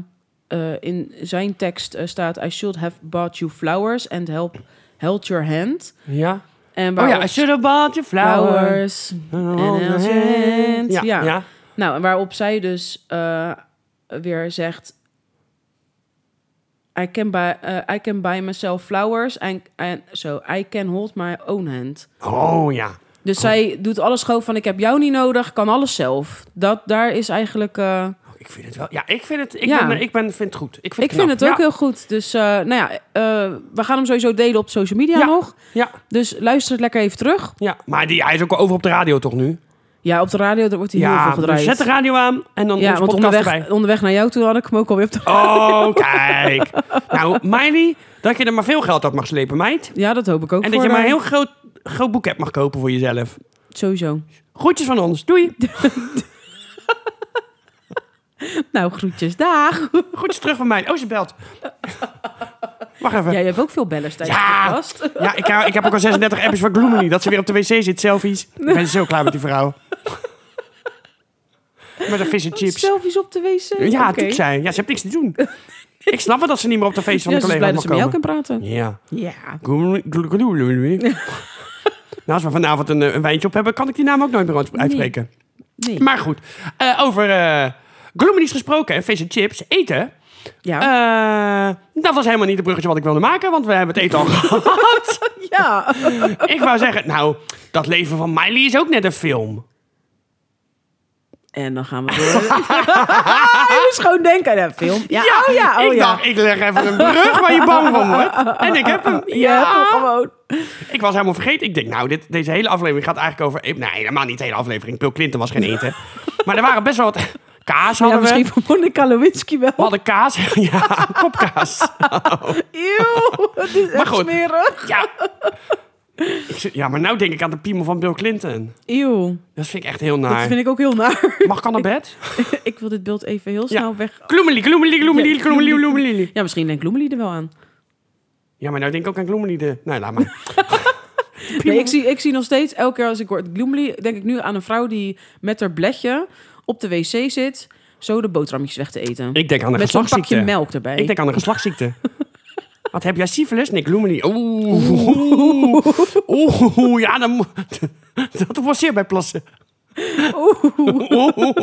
A: eh, in zijn tekst eh, staat... I should have bought you flowers and help, held your hand.
B: Ja.
A: En
B: Oh ja,
A: waarop-
B: I should have bought your flowers.
A: flowers. And held your hand.
B: Ja,
A: Ja,
B: ja.
A: Nou, en waarop zij dus eh, weer zegt... I can, buy, eh, I can buy myself flowers and, and so I can hold my own hand.
B: Oh ja.
A: Dus zij doet alles gewoon van ik heb jou niet nodig, kan alles zelf. Dat, daar is eigenlijk... eh,
B: Oh, Ik vind het wel. Ja, ik vind het. Ik,
A: Ja.
B: ben, ik ben, vind het goed. Ik vind
A: Ik vind het ook
B: knap.
A: heel goed. Dus eh, nou ja, eh, we gaan hem sowieso delen op social media
B: Ja.
A: nog.
B: Ja,
A: Dus luister het lekker even terug.
B: ja, ja. Maar die, hij is ook over op de radio toch nu?
A: Ja, dus op de radio daar wordt hij heel
B: ja, dus
A: veel gedraaid.
B: zet de radio aan en dan
A: ja,
B: onze
A: want
B: podcast
A: onderweg,
B: erbij.
A: onderweg naar jou toe had ik hem ook alweer op de...
B: Oh, kijk. Nou, Miley, dat je er maar veel geld uit mag slepen, meid.
A: Ja, dat hoop ik ook
B: En
A: voor eh,
B: dat je maar
A: de-
B: een heel groot, groot boeket mag kopen voor jezelf.
A: Sowieso.
B: Groetjes van ons. Doei.
A: Nou, groetjes. Dag.
B: Groetjes terug van mij. Oh, ze belt. Wacht even.
A: Ja, je hebt ook veel bellers tijdens
B: Ja.
A: de podcast.
B: Ja, ik, hou- ik heb ook al 36 appjes van Gloomily. Dat ze weer op de wc zit, selfies. Ik ben zo klaar met die vrouw. Met een vis en chips.
A: Selfies op de wc.
B: Ja,
A: Oké.
B: natuurlijk zijn. Ja, ze heeft niks te doen. Ik snap wel dat ze niet meer op de feest van
A: Ja,
B: de
A: ze is
B: collega
A: blij dat
B: mag
A: ze met jou
B: komen.
A: kan praten.
B: Ja.
A: Ja.
B: Gloomily- glo- gloomily. Nou, als we vanavond een, eh, een wijntje op hebben, kan ik die naam ook nooit meer uit- uitspreken.
A: Nee.
B: Maar goed, eh, over eh Gloomily's gesproken en vis en chips eten.
A: Ja.
B: Eh, dat was helemaal niet het bruggetje wat ik wilde maken, want we hebben het eten al gehad.
A: ja.
B: Ik wou zeggen, nou, dat leven van Miley is ook net een film.
A: En dan gaan we door. Hij moest gewoon denken aan een film. Ja, oh ja, oh
B: ik
A: ja.
B: dacht, ik leg even een brug waar je bang van wordt. En ik heb hem.
A: Je hebt hem
B: Ja.
A: gewoon.
B: Ik was helemaal vergeten. Ik denk, nou, dit, deze hele aflevering gaat eigenlijk over... Nee, helemaal niet de hele aflevering. Bill Clinton was geen eten. maar er waren best wel wat... Kaas
A: Ja,
B: hadden we.
A: misschien van Monica Lewinsky wel.
B: We hadden kaas. ja, kopkaas.
A: Eeuw, het is echt
B: goed.
A: smerig.
B: ja. Ik zit- ja, maar nou denk ik aan de piemel van Bill Clinton.
A: Eeuw,
B: Dat vind ik echt heel
A: dat
B: naar.
A: vind ik ook heel naar.
B: Mag ik al naar bed?
A: ik wil dit beeld even heel snel weg...
B: Gloemeli, gloemeli, gloemeli,
A: Ja,
B: gloemeli, gloemeli.
A: Ja, misschien denkt Loemeli er wel aan.
B: Ja, maar nou denk ik ook aan Gloemeli de... Nee, laat maar.
A: Nee, ik, zie, ik zie nog steeds, elke keer als ik hoor Loemeli, denk ik nu aan een vrouw die met haar bledje op de wc zit, zo de boterhammetjes weg te eten.
B: Ik denk aan een
A: met zo'n
B: geslachtsziekte.
A: pakje melk erbij.
B: Ik denk aan een geslachtsziekte. Wat heb jij syfilis? Nee, gloemeli. Oeh. Oeh. Oeh. Ja, dan moet... Dat was zeer bij plassen.
A: Oeh,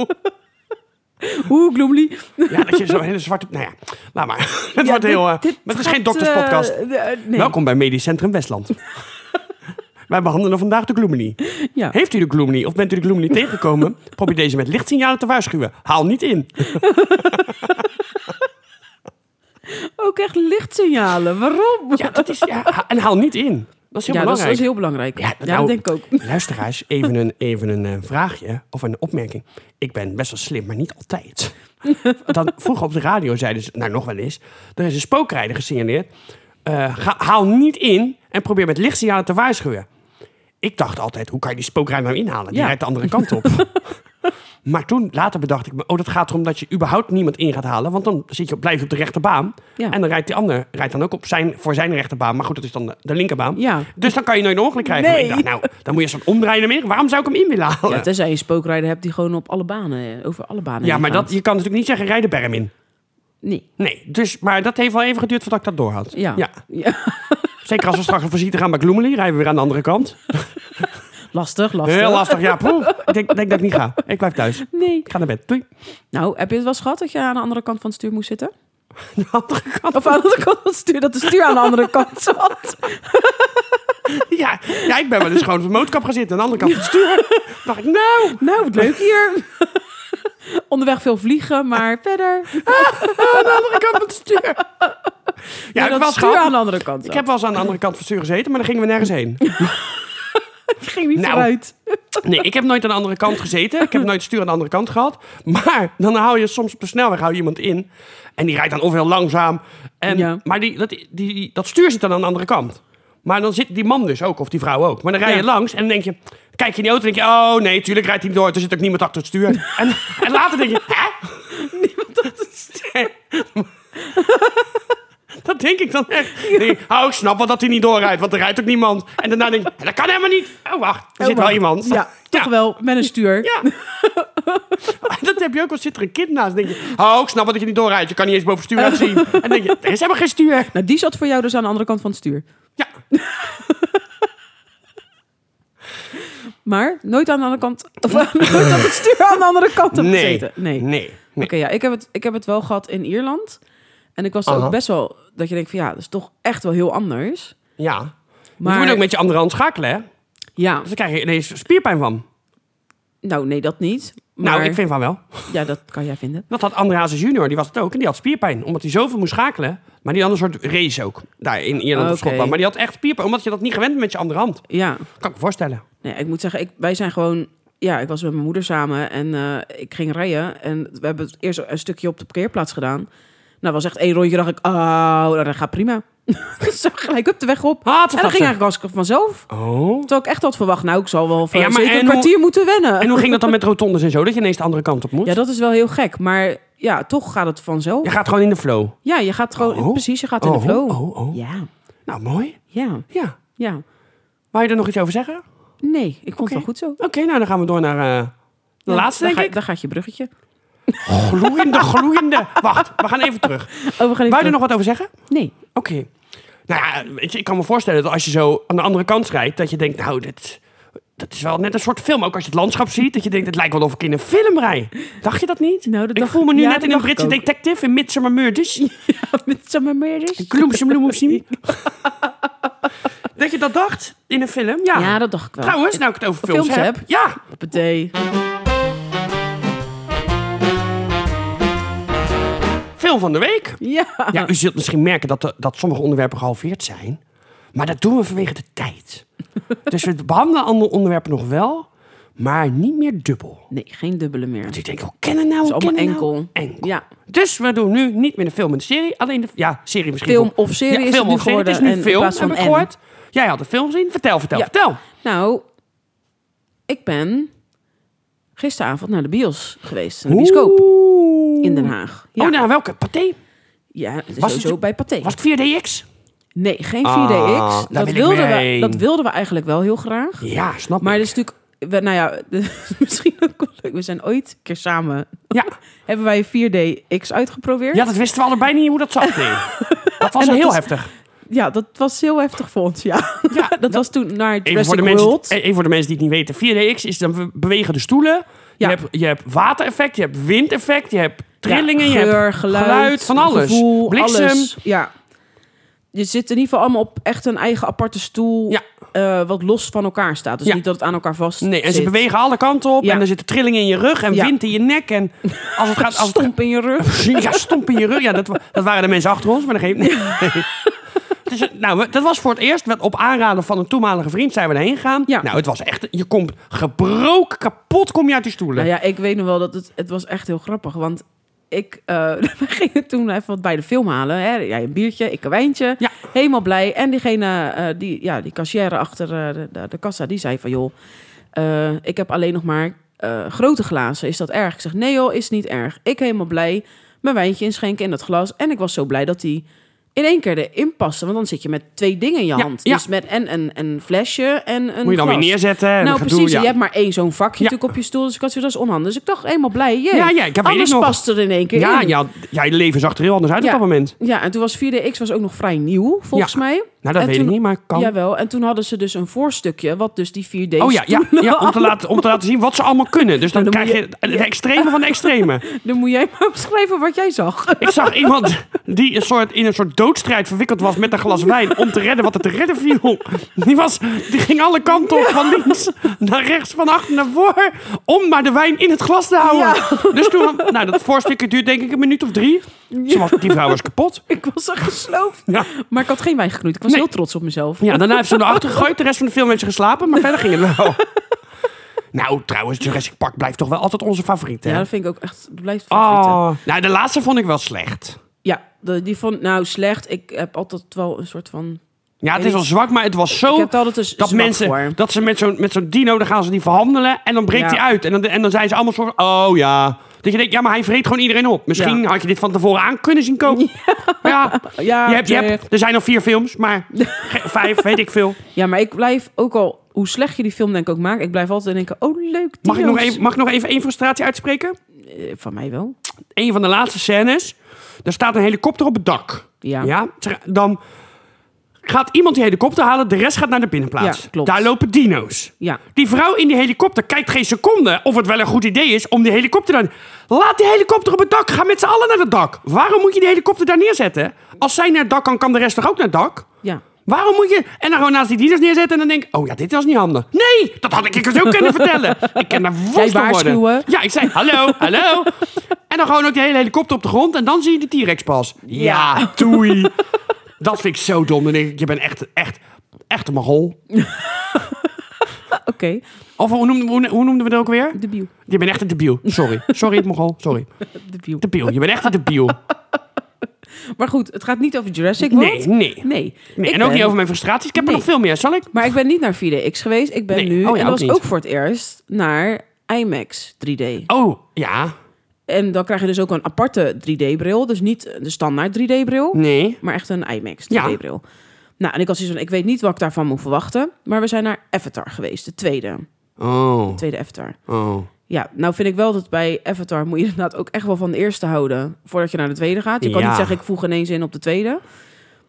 A: oeh, Gloemly.
B: Ja, dat je zo'n hele zwarte... Nou ja, laat maar. Het wordt
A: dit-
B: heel... eh,
A: dit
B: maar het is
A: gaat,
B: geen dokterspodcast.
A: eh, eh, nee.
B: Welkom bij Medisch Centrum Westland. Wij behandelen vandaag de Gloomily.
A: Ja.
B: Heeft u de Gloomily of bent u de Gloomily tegengekomen? Probeer deze met lichtsignalen te waarschuwen. Haal niet in.
A: Ook echt lichtsignalen. Waarom?
B: Ja, dat is, ja, ha- en haal niet in. Dat is heel
A: Ja, dat is, dat
B: belangrijk.
A: is heel belangrijk. Ja,
B: nou-
A: dat denk ik ook.
B: Luisteraars, even een, even een eh, vraagje of een opmerking. Ik ben best wel slim, maar niet altijd. Dan, vroeger op de radio zeiden ze, nou nog wel eens, er is een spookrijder gesignaleerd. Eh, ga, haal niet in en probeer met lichtsignalen te waarschuwen. Ik dacht altijd, hoe kan je die spookrijder nou inhalen? Die
A: Ja.
B: rijdt de andere kant op. maar toen, later bedacht ik me, oh dat gaat erom dat je überhaupt niemand in gaat halen. Want dan zit je, op- blijf je op de rechterbaan.
A: Ja.
B: En dan rijdt die ander rijdt dan ook op zijn, voor zijn rechterbaan. Maar goed, dat is dan de, de linkerbaan.
A: Ja.
B: Dus dan kan je nooit een ongeluk krijgen.
A: Nee.
B: Ik dacht, nou, dan moet je zo'n omdraaien meer. Waarom zou ik hem in willen halen?
A: Ja,
B: Ja,
A: tenzij je een spookrijder hebt die gewoon op alle banen, eh, over alle banen heen
B: maar
A: gaat.
B: dat, je kan natuurlijk niet zeggen, rij de berm in.
A: Nee.
B: Nee, dus, maar dat heeft wel even geduurd voordat ik dat door had.
A: Ja. ja.
B: Zeker als we straks een visite gaan bij Gloomily, rijden we weer aan de andere kant.
A: Lastig, lastig.
B: Heel lastig, ja. poeh. Ik denk, denk dat ik niet ga. Ik blijf thuis.
A: Nee.
B: Ik ga naar bed. Doei.
A: Nou, heb je het wel eens gehad dat je aan de andere kant van het stuur moest zitten?
B: De andere kant.
A: Of aan de andere kant van het stuur, dat de stuur aan de andere kant zat?
B: Ja, ja, ik ben wel eens gewoon op de motorkap gaan zitten. Aan de andere kant van het stuur. dacht ik, nou,
A: Nou, wat leuk hier. Onderweg veel vliegen, maar verder.
B: aan de andere kant van het stuur. Ja,
A: Ja,
B: ik heb
A: dat
B: wel eens
A: stuur
B: gehad.
A: aan de andere kant.
B: Ik heb wel eens aan de andere kant van het stuur gezeten, maar dan gingen we nergens heen.
A: ging niet
B: Nou.
A: vooruit.
B: Nee, ik heb nooit aan de andere kant gezeten. Ik heb nooit het stuur aan de andere kant gehad. Maar dan hou je soms op de snelweg hou je iemand in. En die rijdt dan of heel langzaam. En,
A: Ja.
B: Maar die, dat, die, die- dat stuur zit dan aan de andere kant. Maar dan zit die man dus ook, of die vrouw ook. Maar dan rij je
A: Ja.
B: langs en dan denk je... Kijk je in die auto en denk je... Oh nee, tuurlijk rijdt hij niet door. Er zit ook niemand achter het stuur. En, en later denk je... Hè? Dat denk ik dan echt. Nee, oh, ik snap wel dat hij niet doorrijdt, want er rijdt ook niemand. En daarna denk je, dat kan helemaal niet. Oh, wacht, er zit wel
A: wacht.
B: iemand.
A: Ja, toch wel, met een stuur.
B: Ja. dat heb je ook al. Zit er een kind naast? denk je, oh, ik snap wat dat je niet doorrijdt. Je kan niet eens boven het stuur uitzien. En dan denk je, er is helemaal geen stuur.
A: Nou, die zat voor jou dus aan de andere kant van het stuur.
B: Ja.
A: Maar nooit aan de andere kant... Of nooit aan het stuur aan de andere kant hebt gezeten. Nee.
B: Nee.
A: Oké, ja, ik heb, het, ik heb het wel gehad in Ierland. En ik was er
B: Aha.
A: ook best wel... Dat je denkt van ja, dat is toch echt wel heel anders.
B: Ja. Dus
A: Maar
B: Je moet ook met je andere hand schakelen, hè? Dus
A: ja,
B: dan krijg je ineens spierpijn van.
A: nou nee, dat niet. Maar,
B: Nou, ik vind van wel.
A: Ja, dat kan jij vinden.
B: Dat had André Hazes junior, die was het ook. En die had spierpijn, omdat hij zoveel moest schakelen. Maar die had een soort race ook, daar in Ierland
A: Oké.
B: of Schotland. Maar die had echt spierpijn, omdat je dat niet gewend bent met je andere hand.
A: Ja,
B: Kan ik me voorstellen.
A: nee, ik moet zeggen, ik, wij zijn gewoon... Ja, ik was met mijn moeder samen en eh, ik ging rijden. En we hebben het eerst een stukje op de parkeerplaats gedaan. Nou, was echt één rondje. dacht ik, oh, dat gaat prima. dus zo gelijk up de weg op.
B: Ah, het
A: En dat ging eigenlijk hartstikke vanzelf.
B: Oh.
A: Terwijl ik echt had verwacht, nou, ik zal wel van,
B: Ja, maar
A: zeker
B: en
A: een
B: hoe-
A: kwartier moeten wennen.
B: En hoe ging dat dan met rotondes en zo, dat je ineens de andere kant op moet?
A: Ja, dat is wel heel gek. Maar ja, toch gaat het
B: Je
A: vanzelf.
B: gaat gewoon in de flow.
A: Ja, je gaat gewoon...
B: Oh.
A: Precies, je gaat in de
B: Oh,
A: flow.
B: oh, oh.
A: Ja,
B: Nou, mooi.
A: ja,
B: Ja.
A: ja.
B: Wou je er nog iets over zeggen? Oké,
A: Nee, ik vond
B: Oké.
A: het wel goed zo.
B: nou dan gaan we door naar eh, de
A: Ja,
B: laatste,
A: daar
B: denk
A: ga-
B: ik. Oh,
A: Daar gaat je bruggetje.
B: Gloeiende, gloeiende. Wacht, we gaan even terug. Wou
A: Oh, we gaan even...
B: je er nog wat over zeggen?
A: Nee.
B: Oké. Nou ja, weet je, ik kan me voorstellen dat als je zo aan de andere kant rijdt, dat je denkt, nou, dit, dat is wel net een soort film. Ook als je het landschap ziet, dat je denkt, het lijkt wel of ik in een film rijd. Dacht je dat niet?
A: Nou, dat
B: ik
A: dacht-
B: voel me nu
A: ja,
B: net
A: dat
B: in een
A: dacht ik
B: Britse
A: ook.
B: detective in Midsummer Murders.
A: Met Summermeerders?
B: Gloemse bloemopsie. dat je dat dacht in een film? Ja.
A: Ja, dat dacht ik wel.
B: Trouwens, nou ik het over films,
A: Films
B: heb.
A: heb.
B: Ja,
A: Hoppatee.
B: film van de week.
A: Ja.
B: Ja, u zult misschien merken dat, de- dat sommige onderwerpen gehalveerd zijn. Maar dat doen we vanwege de tijd. dus we behandelen andere onderwerpen nog wel, maar niet meer dubbel.
A: Nee, geen dubbele meer.
B: Dus ik denk, hoe kennen nou?
A: is
B: hoe kennen
A: allemaal
B: Nou? enkel.
A: Ja.
B: Dus we doen nu niet meer de film en de serie, alleen de ja, serie misschien.
A: Film
B: wel.
A: of serie is het
B: film
A: nu
B: of serie.
A: geworden.
B: Het is nu
A: en in
B: film,
A: plaats van
B: heb ik
A: en.
B: gehoord. Jij had de film gezien. Vertel, vertel,
A: Ja.
B: vertel.
A: Nou, ik ben gisteravond naar de bios geweest. Naar de
B: Oeh.
A: bioscoop in Den Haag. Ja,
B: Oh, nou welke? Pathé?
A: ja het is
B: Was
A: sowieso
B: het-
A: bij Pathé.
B: Was het 4DX?
A: Nee, geen 4DX.
B: Ah, daar wil
A: dat,
B: ik
A: wilden
B: mee
A: we,
B: heen.
A: dat wilden we eigenlijk wel heel graag.
B: Ja, snap
A: Maar
B: ik.
A: dat is natuurlijk... We, nou ja, misschien ook wel leuk. We zijn ooit een keer samen...
B: Ja.
A: Hebben wij 4DX uitgeprobeerd.
B: ja, dat wisten we allebei niet hoe dat zat. Nee. dat was
A: dat
B: heel
A: was-
B: heftig.
A: Ja, dat was heel heftig voor ons, ja.
B: Ja, nou,
A: dat was toen naar
B: Even voor,
A: Jurassic
B: de mensen,
A: World.
B: eh, even voor de mensen die het niet weten. 4DX is dan we bewegen de stoelen.
A: Ja.
B: Je, hebt, je hebt watereffect, je hebt windeffect, je hebt trillingen,
A: Ja,
B: je
A: geur,
B: hebt
A: geluid,
B: van alles.
A: gevoel,
B: Bliksem.
A: alles. Ja. Je zit in ieder geval allemaal op echt een eigen aparte stoel.
B: Ja.
A: eh, wat los van elkaar staat. Dus
B: Ja.
A: niet dat het aan elkaar vast
B: Nee, en
A: zit.
B: ze bewegen alle kanten op
A: Ja.
B: en er zitten trillingen in je rug en
A: Ja.
B: wind in je nek. En als het gaat... Als het,
A: Stomp in je rug.
B: ja, stomp in je rug. Ja, dat, wa- dat waren de mensen achter ons, maar dat geeft niet. Dus, eh, nou, we- dat was voor het eerst. Want Op aanraden van een toenmalige vriend zijn we erheen gegaan.
A: Ja.
B: Nou, het was echt... Je komt gebroken, kapot kom je uit die stoelen.
A: Nou ja, ik weet nog wel dat het, het was echt heel grappig. Want ik, eh we gingen toen even wat bij de film halen. Hè? Jij een biertje, ik een wijntje.
B: Ja.
A: Helemaal blij. En diegene, eh, die, ja, die cashier achter eh, de, de, de kassa, die zei van... joh, eh, ik heb alleen nog maar eh, grote glazen. Is dat erg? Ik zeg, nee joh, is niet erg. Ik helemaal blij. Mijn wijntje inschenken in dat glas. En ik was zo blij dat die in één keer erin paste. Want dan zit je met twee dingen in je
B: Ja,
A: hand.
B: ja.
A: Dus met en een, een flesje en een
B: Moet je dan
A: glas.
B: weer neerzetten. en
A: Nou,
B: gedoe,
A: precies.
B: ja.
A: Je hebt maar één zo'n vakje
B: Ja.
A: natuurlijk op je stoel. Dus ik had zoiets als onhandig. Dus ik dacht, eenmaal blij. jee.
B: Ja, ja, ik heb
A: Alles
B: weet ik nog.
A: past er in één keer
B: Ja,
A: in.
B: ja, ja, je leven zag er heel anders uit
A: Ja.
B: op dat moment.
A: Ja, en toen was 4DX was ook nog vrij nieuw, volgens
B: Ja.
A: mij.
B: Nou, dat
A: En
B: weet
A: toen-
B: ik niet, maar kan.
A: Jawel. En toen hadden ze dus een voorstukje, wat dus die 4D's...
B: oh ja, ja, ja om, te laten, om te laten zien wat ze allemaal kunnen. Dus dan,
A: Nou, dan
B: krijg je
A: moet
B: het het extreme van de extreme.
A: Dan moet jij maar beschrijven wat jij zag.
B: Ik zag iemand die een soort, in een soort doodstrijd verwikkeld was met een glas wijn om te redden wat er te redden viel. Die, was, die ging alle kanten op, van links naar rechts, van achter naar voor, om maar de wijn in het glas te houden. Dus toen, nou, dat voorstukje duurt denk ik een minuut of drie. Ze was, die vrouw was kapot.
A: ik was er gesloopt.
B: Ja.
A: Maar ik had geen wijn geknoeid. Ik was
B: Nee.
A: heel trots op mezelf.
B: Ja, daarna heeft ze hem erachter gegooid. De rest van de film heeft ze geslapen, maar verder ging het wel. nou, trouwens, Jurassic Park blijft toch wel altijd onze favoriet, hè?
A: Ja, dat vind ik ook echt... Dat blijft favorieten.
B: oh. Nou, de laatste vond ik wel slecht.
A: Ja, de- die vond... Nou, slecht. Ik heb altijd wel een soort van...
B: Ja, het
A: Weet
B: is
A: ik-
B: wel zwak, maar het was zo...
A: ik heb het altijd dus
B: dat mensen,
A: voor.
B: dat ze met zo'n met zo'n dino, dan gaan ze die verhandelen en dan breekt
A: Ja.
B: die uit. En dan, en dan zijn ze allemaal zo van, oh ja. Dat je denkt, ja, maar hij vreet gewoon iedereen op. Misschien
A: Ja.
B: had je dit van tevoren aan kunnen zien komen. Ja,
A: Ja,
B: je hebt, je
A: terecht.
B: hebt, er zijn nog vier films, maar ge- vijf, weet ik veel.
A: Ja, maar ik blijf ook al, hoe slecht je die film denk ik ook maakt, ik blijf altijd denken, oh leuk.
B: Mag ik, nog
A: dino's.
B: even, mag ik nog even één frustratie uitspreken?
A: Eh, Van mij wel.
B: een van de laatste scènes. Er staat een helikopter op het dak.
A: Ja.
B: Ter- Dan gaat iemand die helikopter halen, de rest gaat naar de binnenplaats.
A: Ja, klopt.
B: Daar lopen dino's.
A: Ja.
B: Die vrouw in die helikopter kijkt geen seconde of het wel een goed idee is om die helikopter dan... Laat die helikopter op het dak. Ga met z'n allen naar het dak. Waarom moet je die helikopter daar neerzetten? Als zij naar het dak kan, kan de rest toch ook naar het dak?
A: Ja.
B: Waarom moet je... En dan gewoon naast die dino's neerzetten en dan denk ik... Oh ja, dit was niet handig. Nee, dat had ik je zo kunnen vertellen. Ik ken daar woest van worden.
A: waarschuwen.
B: Ja, ik zei hallo, hallo. En dan gewoon ook de hele helikopter op de grond en dan zie je de T-Rex pas. Ja,
A: Ja.
B: doei. Dat vind ik zo dom. Dan denk ik, je bent echt, echt, echt een mogol.
A: Oké,
B: Of hoe noemden, hoe, hoe noemden we dat ook weer?
A: debiel.
B: Je bent echt een debiel. Sorry. Sorry, mogol. Sorry.
A: Debiel.
B: Debiel. Je bent echt een debiel.
A: Maar goed, het gaat niet over Jurassic World.
B: Nee, nee.
A: Nee.
B: nee
A: Ik
B: en ook
A: ben-
B: niet over mijn frustraties. Ik heb er
A: Nee.
B: nog veel meer. Zal ik?
A: Maar ik ben niet naar 4DX geweest. Ik ben
B: Nee.
A: nu,
B: Oh ja,
A: en
B: ook
A: dat was
B: niet.
A: ook voor het eerst, naar IMAX 3D.
B: Oh, ja.
A: En dan krijg je dus ook een aparte 3D-bril. Dus niet de standaard 3D-bril.
B: Nee.
A: maar echt een IMAX
B: Ja.
A: 3D-bril. Nou, en ik was zoiets van, ik weet niet wat ik daarvan moet verwachten. Maar we zijn naar Avatar geweest, de tweede.
B: Oh,
A: Tweede Avatar.
B: oh.
A: Ja, nou vind ik wel dat bij Avatar moet je inderdaad ook echt wel van de eerste houden... voordat je naar de tweede gaat. Je kan
B: Ja.
A: niet zeggen, ik voeg ineens in op de tweede.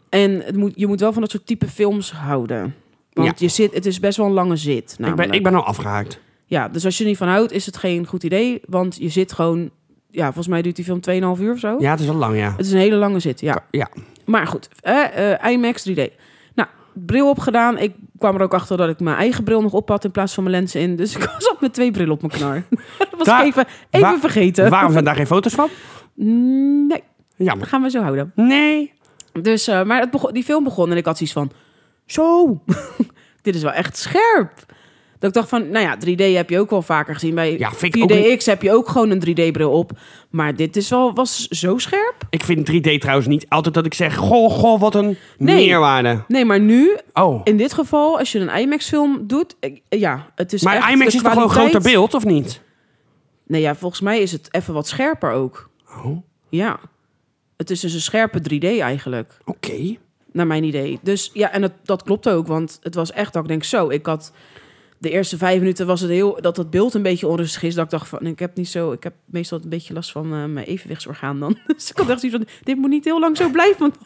A: En het moet, je moet wel van dat soort type films houden. Want
B: Ja.
A: je zit, het is best wel een lange zit,
B: Ik
A: namelijk.
B: ben, ik ben al afgehaakt.
A: Ja, dus als je er niet van houdt, is het geen goed idee. Want je zit gewoon... Ja, volgens mij duurt die film 2,5 uur of zo.
B: Ja, het is al lang, ja.
A: Het is een hele lange zit, ja.
B: Ja.
A: Maar goed, eh, eh, IMAX 3D. Nou, bril opgedaan. Ik kwam er ook achter dat ik mijn eigen bril nog op had in plaats van mijn lenzen in. Dus ik was op met twee brillen op mijn knar. dat was
B: Daar-
A: ik even, even
B: waar-
A: vergeten.
B: Waarom zijn daar geen foto's van?
A: Mm, Nee, dat
B: Jammer.
A: gaan we zo houden.
B: Nee.
A: Dus, eh, maar het begon, die film begon en ik had zoiets van... Zo, dit is wel echt scherp. Dat ik dacht van, nou ja, 3D heb je ook wel vaker gezien. Bij
B: Ja, vind ik ook
A: 4DX heb je ook gewoon een 3D-bril op. Maar dit is wel, was zo scherp.
B: Ik vind 3D trouwens niet altijd dat ik zeg... Goh, goh, wat een
A: Nee.
B: meerwaarde.
A: Nee, maar nu
B: Oh.
A: In dit geval, als je een IMAX-film doet, ik- ja, het is echt
B: Maar IMAX
A: de
B: is toch wel een
A: kwaliteit-
B: groter beeld, of niet?
A: Nee, ja, volgens mij is het even wat scherper ook.
B: Oh, oké.
A: Ja. Het is dus een scherpe 3D eigenlijk, naar mijn idee. Dus ja, en het, dat klopt ook, want het was echt dat ik denk, zo, ik had de eerste vijf minuten was het heel dat dat beeld een beetje onrustig is. Dat ik dacht van, ik heb niet zo, ik heb meestal een beetje last van eh, mijn evenwichtsorgaan dan. Dus ik had echt zoiets van, dit moet niet heel lang zo blijven, want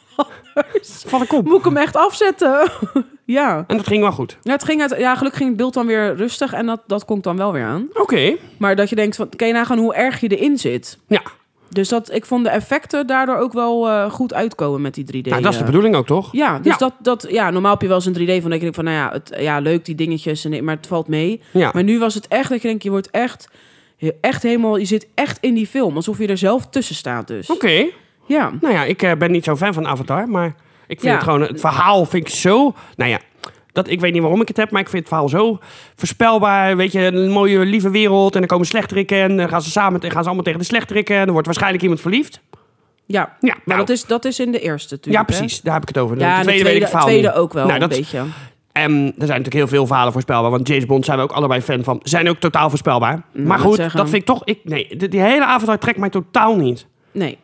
A: anders
B: Van de kom.
A: moet ik hem echt afzetten. ja.
B: En dat ging wel goed.
A: Nou, het ging uit, ja, gelukkig ging het beeld dan weer rustig en dat, dat kon ik dan wel weer aan.
B: Oké.
A: Maar dat je denkt van, kan je nagaan hoe erg je erin zit.
B: Ja.
A: Dus dat, ik vond de effecten daardoor ook wel eh, goed uitkomen met die 3D.
B: Nou, dat is de
A: eh,
B: bedoeling ook, toch?
A: ja, dus
B: Ja.
A: Dat, dat, ja, normaal heb je wel eens een 3D van dat je denkt van, nou ja, het, ja leuk die dingetjes, en, maar het valt mee.
B: Ja.
A: Maar nu was het echt dat je denkt, je wordt echt, echt helemaal, je zit echt in die film. Alsof je er zelf tussen staat dus.
B: Oké.
A: Ja.
B: Nou ja, ik eh, ben niet zo'n fan van Avatar, maar ik vind
A: Ja.
B: het gewoon... Het verhaal vind ik zo... Nou ja, dat, ik weet niet waarom ik het heb, maar ik vind het verhaal zo voorspelbaar. Weet je, een mooie, lieve wereld en dan komen slechterikken en dan gaan ze samen en gaan ze allemaal tegen de slechterikken en dan wordt waarschijnlijk iemand verliefd.
A: Ja,
B: Ja,
A: maar
B: nou,
A: dat is, dat is in de eerste
B: ja
A: natuurlijk. hè?
B: precies. Daar heb ik het over.
A: Ja, en
B: de
A: de
B: tweede, weet ik
A: tweede,
B: het verhaal
A: tweede
B: niet.
A: ook wel
B: Nou,
A: een
B: dat-
A: beetje.
B: En er zijn natuurlijk heel veel verhalen voorspelbaar, want James Bond zijn we ook allebei fan van. Zijn ook totaal voorspelbaar. maar
A: moet
B: goed, dat
A: Nou, zeggen.
B: vind ik toch... Ik, nee, die, die hele Avatar trekt mij totaal niet.
A: Nee.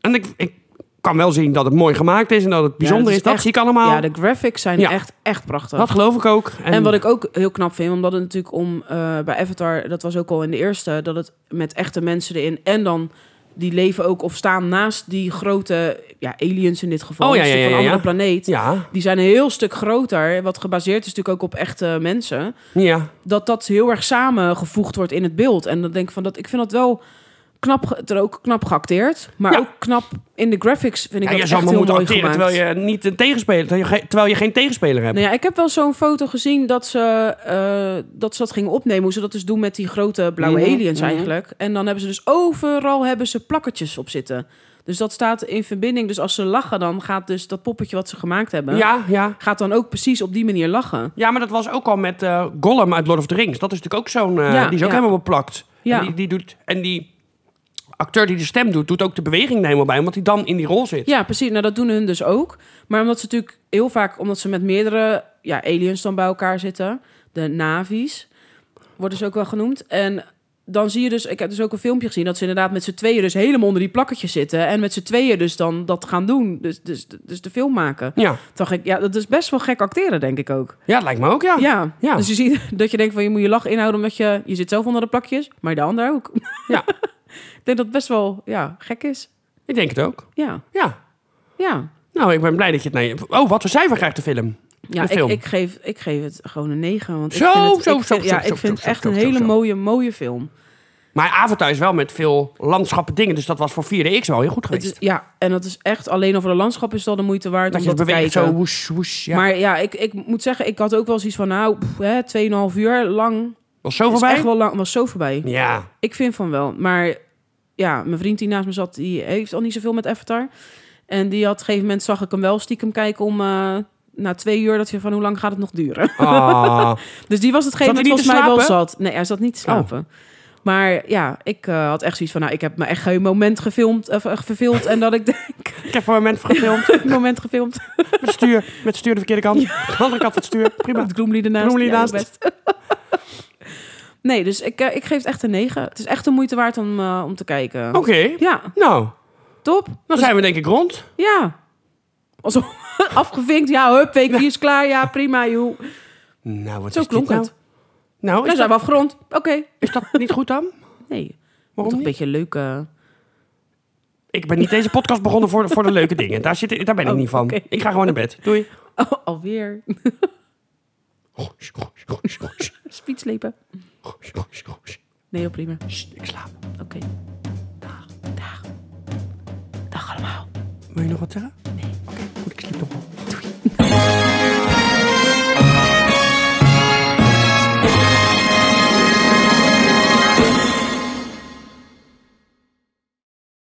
B: En ik, ik kan wel zien dat het mooi gemaakt is en dat het bijzonder
A: dat
B: is,
A: is
B: Dat
A: echt-
B: zie ik allemaal.
A: Ja, de graphics zijn
B: Nou. Ja.
A: echt, echt prachtig.
B: Dat geloof ik ook.
A: En, wat ik ook heel knap vind, omdat het natuurlijk om eh, bij Avatar, dat was ook al in de eerste, dat het met echte mensen erin en dan die leven ook of staan naast die grote ja, aliens in dit geval,
B: Oh, ja,
A: dus
B: ja, ja,
A: van
B: ja,
A: een andere
B: ja.
A: planeet.
B: Ja,
A: Die zijn een heel stuk groter, wat gebaseerd is natuurlijk ook op echte mensen.
B: ja.
A: Dat dat heel erg samengevoegd wordt in het beeld. En dan denk ik van dat, ik vind dat wel knap, ge- het er ook knap geacteerd, maar
B: Ja.
A: ook knap in de graphics vind ik dat
B: ja je
A: echt
B: zou
A: heel
B: maar
A: mooi
B: moeten
A: gemaakt.
B: acteren terwijl je, niet een tegenspeler, terwijl je, ge- terwijl je geen tegenspeler hebt.
A: Nou ja, ik heb wel zo'n foto gezien dat ze, eh, dat ze dat gingen opnemen. Hoe ze dat dus doen met die grote blauwe
B: Mhm,
A: aliens
B: mhm.
A: eigenlijk. En dan hebben ze dus overal hebben ze plakketjes op zitten. Dus dat staat in verbinding. Dus als ze lachen, dan gaat dus dat poppetje wat ze gemaakt hebben...
B: Ja, ja.
A: gaat dan ook precies op die manier lachen.
B: Ja, maar dat was ook al met eh, Gollum uit Lord of the Rings. Dat is natuurlijk ook zo'n... eh,
A: Ja,
B: die is ook
A: ja.
B: helemaal beplakt.
A: Ja.
B: En die, die doet... En die acteur die de stem doet, doet ook de beweging er helemaal bij. Omdat hij dan in die rol zit.
A: Ja, precies. Nou, dat doen hun dus ook. Maar omdat ze natuurlijk heel vaak... omdat ze met meerdere ja, aliens dan bij elkaar zitten... de navi's, worden ze ook wel genoemd. En dan zie je dus... Ik heb dus ook een filmpje gezien... dat ze inderdaad met z'n tweeën dus helemaal onder die plakketjes zitten... en met z'n tweeën dus dan dat gaan doen. Dus, dus, dus de film maken. Toen
B: Ja,
A: dacht ik, ja, dat is best wel gek acteren, denk ik ook.
B: ja dat lijkt me ook, ja.
A: Ja,
B: Ah, ja.
A: dus je ziet dat je denkt van... je moet je lach inhouden omdat je... je zit zelf onder de plakjes, maar de ander ook.
B: Ja.
A: ik denk dat het best wel ja, gek is.
B: Ik denk het ook.
A: Ja,
B: Ja.
A: ja.
B: Nou, ik ben blij dat je het... Nee. Oh, wat voor cijfer krijgt de film?
A: Ja,
B: de
A: ik,
B: film.
A: ik, geef, ik geef het gewoon een 9. Want
B: Zo,
A: ik vind het,
B: zo,
A: ik
B: zo,
A: vind-
B: zo,
A: Ja,
B: zo,
A: ik vind het
B: zo,
A: echt
B: zo,
A: een
B: zo,
A: hele
B: zo.
A: mooie, mooie film.
B: Maar Avatar is wel met veel landschappen dingen. Dus dat was voor 4DX wel heel goed
A: Het
B: geweest.
A: is, ja, en dat is echt alleen over de landschap is dat de moeite waard
B: dat
A: om
B: je het
A: dat te kijken.
B: beweegt zo woes, woes. Ja. Maar,
A: Maar ja, ik, ik moet zeggen, ik had ook wel zoiets van, nou, pff, hè, 2,5 uur lang.
B: was zo
A: Het is
B: voorbij?
A: echt wel lang, was zo voorbij.
B: Ja.
A: Ik vind van wel. Maar ja, mijn vriend die naast me zat, die heeft al niet zoveel met Avatar. En die had op een gegeven moment, zag ik hem wel stiekem kijken om... eh, na twee uur, dat je van hoe lang gaat het nog duren?
B: Ah.
A: Dus die was hetgene
B: Zat hij
A: dat
B: niet
A: volgens
B: te
A: mij wel
B: slapen? Oh.
A: zat. Nee, hij zat niet te slapen. Maar ja, ik eh, had echt zoiets van, nou, ik heb me echt geen moment gefilmd, of eh, verveeld. En dat ik denk,
B: ik heb voor een moment gefilmd.
A: een moment gefilmd.
B: Met het stuur. Met het stuur de verkeerde kant. De andere kant van het stuur. Prima.
A: Met Gloomly ernaast.
B: Gloomly
A: Ja,
B: ernaast.
A: best. nee, dus ik, eh, ik geef het echt een 9. Het is echt de moeite waard om, eh, om te kijken.
B: Oké.
A: Ja,
B: Nou,
A: top.
B: dan zijn we denk ik rond.
A: Ja. Alsof afgevinkt. Ja, hup, week 4 is klaar. Ja, prima, joh.
B: Nou, wat
A: Zo
B: is
A: klonk
B: dit nou?
A: het.
B: Nou,
A: Dan
B: is
A: zijn
B: dat,
A: we afgerond. Oké.
B: is dat niet goed dan?
A: Nee, toch
B: Waarom
A: een
B: niet?
A: beetje leuk. eh,
B: Ik ben niet deze podcast begonnen voor, voor de leuke dingen. Daar, zit, daar ben ik
A: Oh,
B: niet van.
A: oké.
B: Ik ga gewoon naar bed. Doei.
A: alweer. Spietslepen. Nee, joh, prima.
B: Sst, ik slaap.
A: Oké. Dag. Dag. Dag allemaal.
B: Wil je nog wat zeggen? Nee. Oké, goed. Ik sliep toch wel.